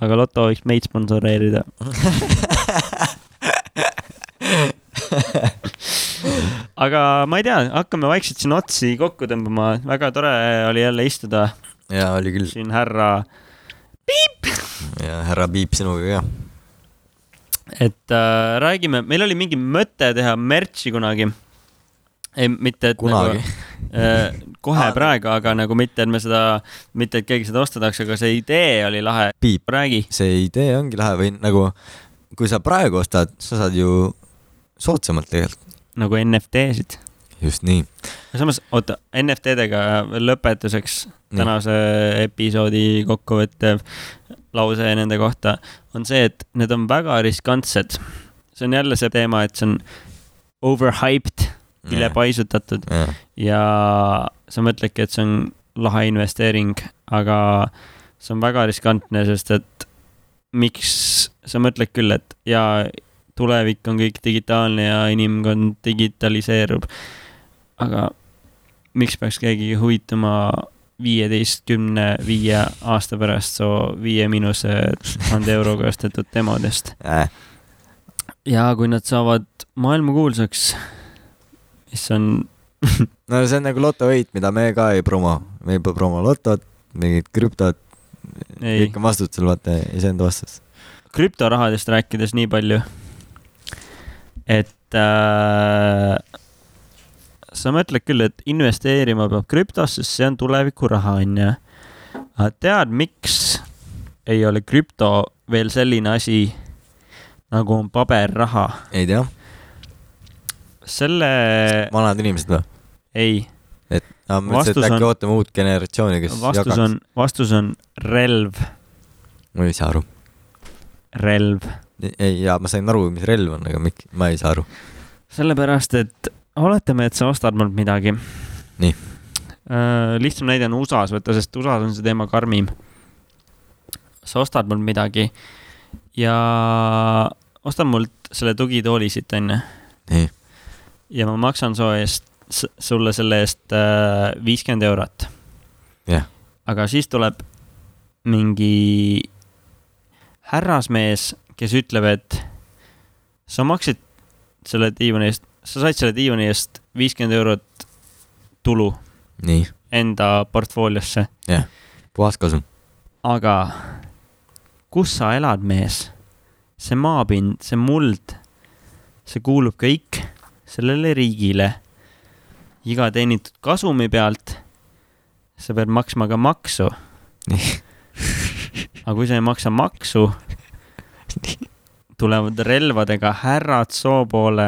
aga loto võiks meid (laughs) sponsoreerida . aga ma ei tea , hakkame vaikselt siin otsi kokku tõmbama , väga tore oli jälle istuda ja oli küll . siin härra ja härra Piip sinuga ka . et äh, räägime , meil oli mingi mõte teha merch'i kunagi . ei , mitte , et kunagi . nagu äh, kohe (laughs) Aa, praegu , aga nagu mitte , et me seda , mitte , et keegi seda osta tahaks , aga see idee oli lahe . Piip , räägi , see idee ongi lahe või nagu , kui sa praegu ostad , sa saad ju soodsamalt tegelikult . nagu NFT-sid . just nii . samas , oota , NFT-dega lõpetuseks Nii. tänase episoodi kokkuvõttev lause nende kohta on see , et need on väga riskantsed . see on jälle see teema , et see on overhyped , ülepaisutatud . ja sa mõtledki , et see on lahe investeering , aga see on väga riskantne , sest et miks sa mõtled küll , et ja tulevik on kõik digitaalne ja inimkond digitaliseerub . aga miks peaks keegi huvituma viieteist , kümne , viie aasta pärast su viie miinuse tuhande euroga ostetud demodest ? Äh, ja kui nad saavad maailmakuulsaks , mis on no see on nagu lotovõit , mida me ka ei promo , me ei promo lotot , mingit krüptot , ei kõik on vastutusel , vaata iseenda vastus . krüptorahadest rääkides nii palju , et äh, sa mõtled küll , et investeerima peab krüptosse , sest see on tulevikuraha , onju . aga tead , miks ei ole krüpto veel selline asi nagu on paberraha ? ei tea , selle , vanad inimesed või ? ei , ma mõtlesin , Vastus et äkki on- ootame uut generatsiooni , kes vastus jagaks . on , vastus on relv , ma ei saa aru . relv . ei , jaa , ma sain aru , mis relv on , aga mik- , ma ei saa aru . sellepärast , et oletame , et sa ostad mult midagi . Nii. . lihtsam näide on USA-s , vaata , sest USA-s on see teema karmim . sa ostad mult midagi ja osta mult selle tugitooli siit , onju , nii , ja ma maksan su eest , sulle selle eest äh, viiskümmend eurot . Jah. . aga siis tuleb mingi härrasmees , kes ütleb , et sa maksid selle diivani eest , sa said selle diivani eest viiskümmend eurot tulu nii , enda portfooliosse , puhas kasum . aga kus sa elad , mees ? see maapind , see muld , see kuulub kõik sellele riigile . iga teenitud kasumi pealt sa pead maksma ka maksu . aga kui sa ei maksa maksu , tulevad relvadega härrad soo poole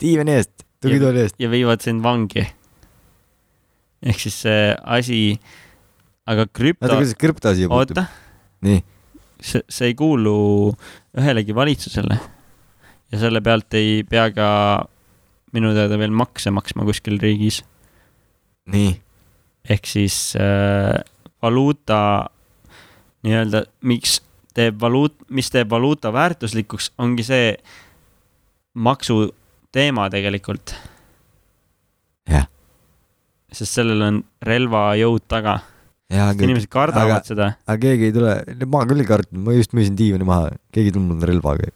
diivani eest , tugitooli eest . ja viivad sind vangi . ehk siis see asi , aga krüpto oota ,, kuidas krüpto asi puutub ? oota , nii , see , see ei kuulu ühelegi valitsusele . ja selle pealt ei pea ka minu teada veel makse maksma kuskil riigis . nii , ehk siis äh, valuuta nii-öelda , miks teeb valuut , mis teeb valuuta väärtuslikuks , ongi see maksuteema tegelikult . Jah. sest sellel on relvajõud taga , jaa , aga , inimesed kardavad aga- aga... seda . aga keegi ei tule , ma küll ei kartnud , ma just müüsin diivani maha , keegi ei tulnud mulle relvaga .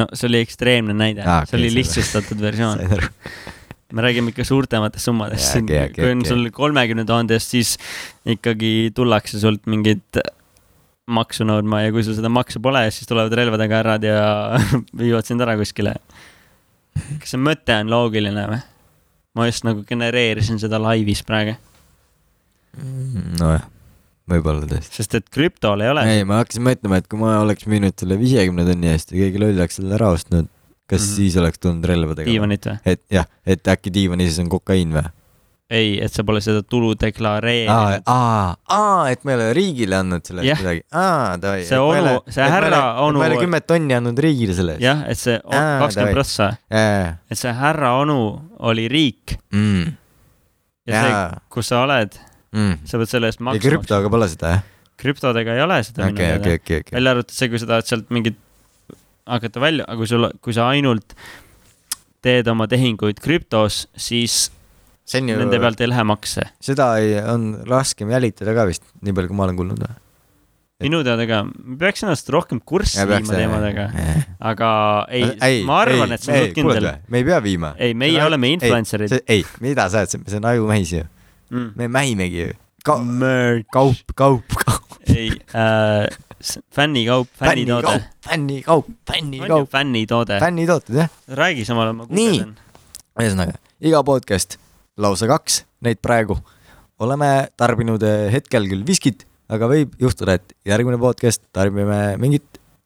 no see oli ekstreemne näide Aa, ah, , okei, okay, see oli seda- lihtsustatud (laughs) versioon . sain aru , me räägime ikka suurtematest summadest Jaa, . okei, okei, kui on okei. sul kolmekümne tuhandest , siis ikkagi tullakse sult mingit maksu nõudma ja kui sul seda maksu pole , siis tulevad relvadega härrad ja (laughs) viivad sind ära kuskile . kas see mõte on loogiline või ? ma just nagu genereerisin seda laivis praegu , Mm, nojah , võib-olla tõesti . sest et krüptol ei ole . ei , ma hakkasin mõtlema , et kui ma oleks müünud selle viiekümne tonni eest ja keegi loll oleks selle ära ostnud , kas mm Mhm. -hmm. siis oleks tulnud relvadega ? diivanit või ? et jah , et äkki diivani sees on kokaiin või ? ei , et sa pole seda tulu aa deklareerinud ,. aa , aa , et ma ei ole riigile andnud selle Jah. eest midagi . aa , davai . See onu- see härra onu- ma ei ole kümmet tonni andnud riigile selle eest . jah , et see Aa, davai. kakskümmend prossa , jaa , et see härra onu oli riik jaa . ja see , jaa , kus sa oled , ja sa pead selle eest maksma . krüptoga pole seda jah ? krüptodega ei ole seda minu okei , teada okei , okei , okei . välja arvatud see , kui sa tahad sealt mingit hakata välja , aga kui sul , kui sa ainult teed oma tehinguid krüptos , siis see on Juh. ju nende , pealt ei lähe makse . seda ei , on raskem jälitada ka vist , nii palju , kui ma olen kuulnud . minu teada ka , me peaks ennast rohkem kurssi viima teemadega , aga ei, ei , ma arvan , et see on suht kindel . me ei pea viima . ei , meie See on- oleme influencer'id . see , ei , mida sa oled , see on ajumähis ju , me mähimegi ju . Mm. kaup , Merch , kaup , kaup , ei äh, , fännikaup , fännitoode fännitoode ., fännikaup , on ju Äh. fännikaup , fännitoode ? fännitooted jah , räägi samal ajal , ma Nii. guugeldan . ühesõnaga iga podcast , lausa kaks neid praegu , oleme tarbinud eh, hetkel küll viskit , aga võib juhtuda , et järgmine podcast tarbime mingit ,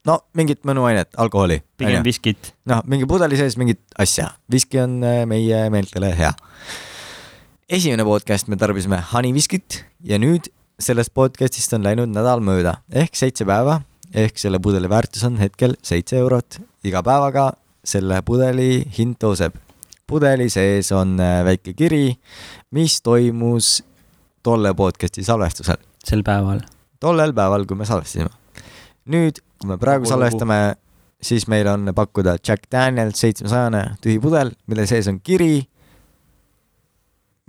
no mingit mõnuainet , alkoholi . pigem viskit . noh , mingi pudeli sees mingit asja , viski on äh, meie meeltele hea . esimene podcast me tarbisime haniviskit ja nüüd sellest podcast'ist on läinud nädal mööda ehk seitse päeva ehk selle pudeli väärtus on hetkel seitse eurot . iga päevaga selle pudeli hind tõuseb . pudeli sees on äh, väike kiri , mis toimus tolle podcast'i salvestusel , sel päeval . tollel päeval , kui me salvestasime . nüüd , kui me praegu Kogu lugu. salvestame , siis meil on pakkuda Jack Daniels seitsmesajane tühi pudel , mille sees on kiri ,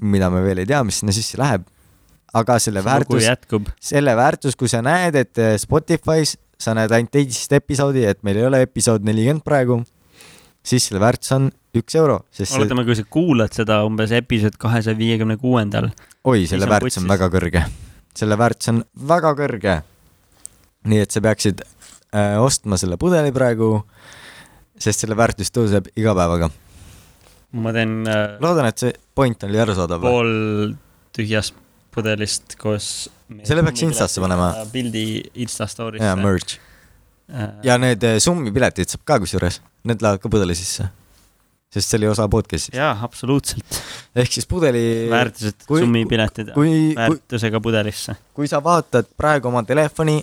mida me veel ei tea , mis sinna sisse läheb , aga selle väärtus , jätkub . selle väärtus , kui sa näed , et eh, Spotify's sa näed ainult teisest episoodi , et meil ei ole episood nelikümmend praegu , siis selle väärtus on üks euro , sest see, oletame , kui sa kuulad seda umbes episood kahesaja viiekümne kuuendal . oi , selle on väärtus on putsis. väga kõrge , selle väärtus on väga kõrge . nii et sa peaksid äh, ostma selle pudeli praegu , sest selle väärtus tõuseb iga päevaga . ma teen äh, loodan , et see point oli arusaadav . pool tühjast pudelist koos . Selle peaks Instasse panema. . pildi Insta story'sse . jaa , merch . ja need äh, summi piletid saab ka kusjuures , need lähevad ka pudeli sisse . sest see oli osa podcast'ist . jaa , absoluutselt . ehk siis pudeli , väärtused , kui- summipiletid , kui , kui , väärtusega pudelisse . kui sa vaatad praegu oma telefoni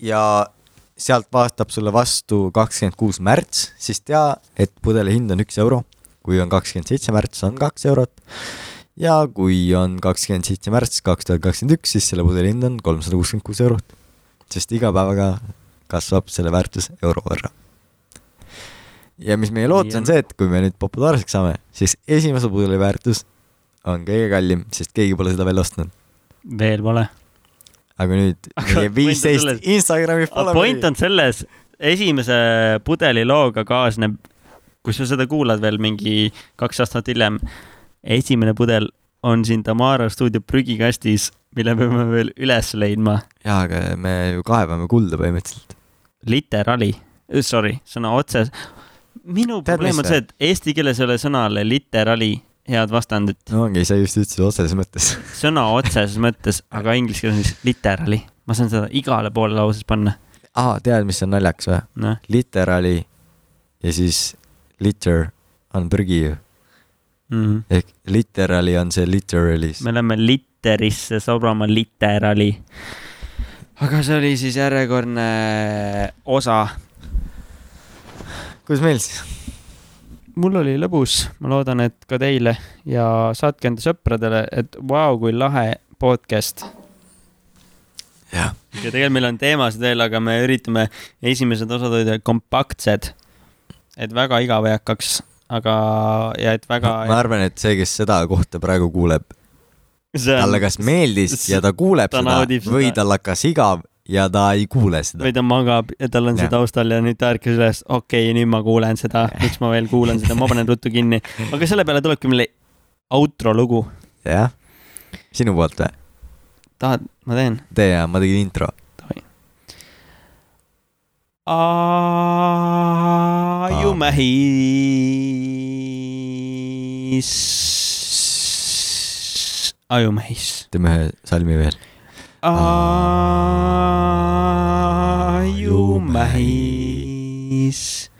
ja sealt vaatab sulle vastu kakskümmend kuus märts , siis tea , et pudeli hind on üks euro . kui on kakskümmend seitse märts , on kaks eurot . ja kui on kakskümmend seitse märts kaks tuhat kakskümmend üks , siis selle pudeli hind on kolmsada kuuskümmend kuus eurot . sest iga päevaga kasvab selle väärtus euro võrra . ja mis meie lootus on Jah. see , et kui me nüüd populaarseks saame , siis esimese pudeli väärtus on kõige kallim , sest keegi pole seda veel ostnud veel pole . aga nüüd (laughs) Aga meie point on selles- viisteist Instagrami point on selles , esimese pudeli looga kaasneb , kui sa seda kuulad veel mingi kaks aastat hiljem , esimene pudel on siin Tamara stuudio prügikastis , mille peame veel üles leidma . jaa , aga me ju kaevame kulda põhimõtteliselt . literaali , Äh, sorry , sõna otses . minu Tead, probleem mis on see , et eesti keeles ei ole sõnale literaali head vastandit no ongi , sa just ütlesid otseses mõttes . (laughs) sõna otseses mõttes , aga inglise keeles on siis literaali . ma saan seda igale poole lauses panna , aa , tead , mis on naljakas või ? noh . literaali ja siis litter on prügi ju . me ehk literaali on see literalis . läheme litterisse sobrama literaali . aga see oli siis järjekordne osa . kuidas meil siis ? mul oli lõbus , ma loodan , et ka teile ja saatke enda sõpradele , et vau , kui lahe podcast . jah , ja tegelikult meil on teemasid veel , aga me üritame esimesed osad hoida kompaktsed . et väga igav ei hakkaks , aga , ja et väga . ma arvan , et see , kes seda kohta praegu kuuleb , (laughs) talle kas meeldis s- ja ta kuuleb ta seda naudib või seda. tal hakkas igav ja ta ei kuule seda või . ta magab ja tal on see Jah. taustal ja nüüd ta ärkas üles , okei okay, , nüüd ma kuulen seda , miks ma veel kuulan seda , ma panen ruttu kinni . aga selle peale tulebki meile outro lugu . jah , sinu poolt või ? tahad , ma teen ? tee ja ma tegin intro . Ah. ajumähis . ajumähis . teeme ühe salmi veel . ajumähis .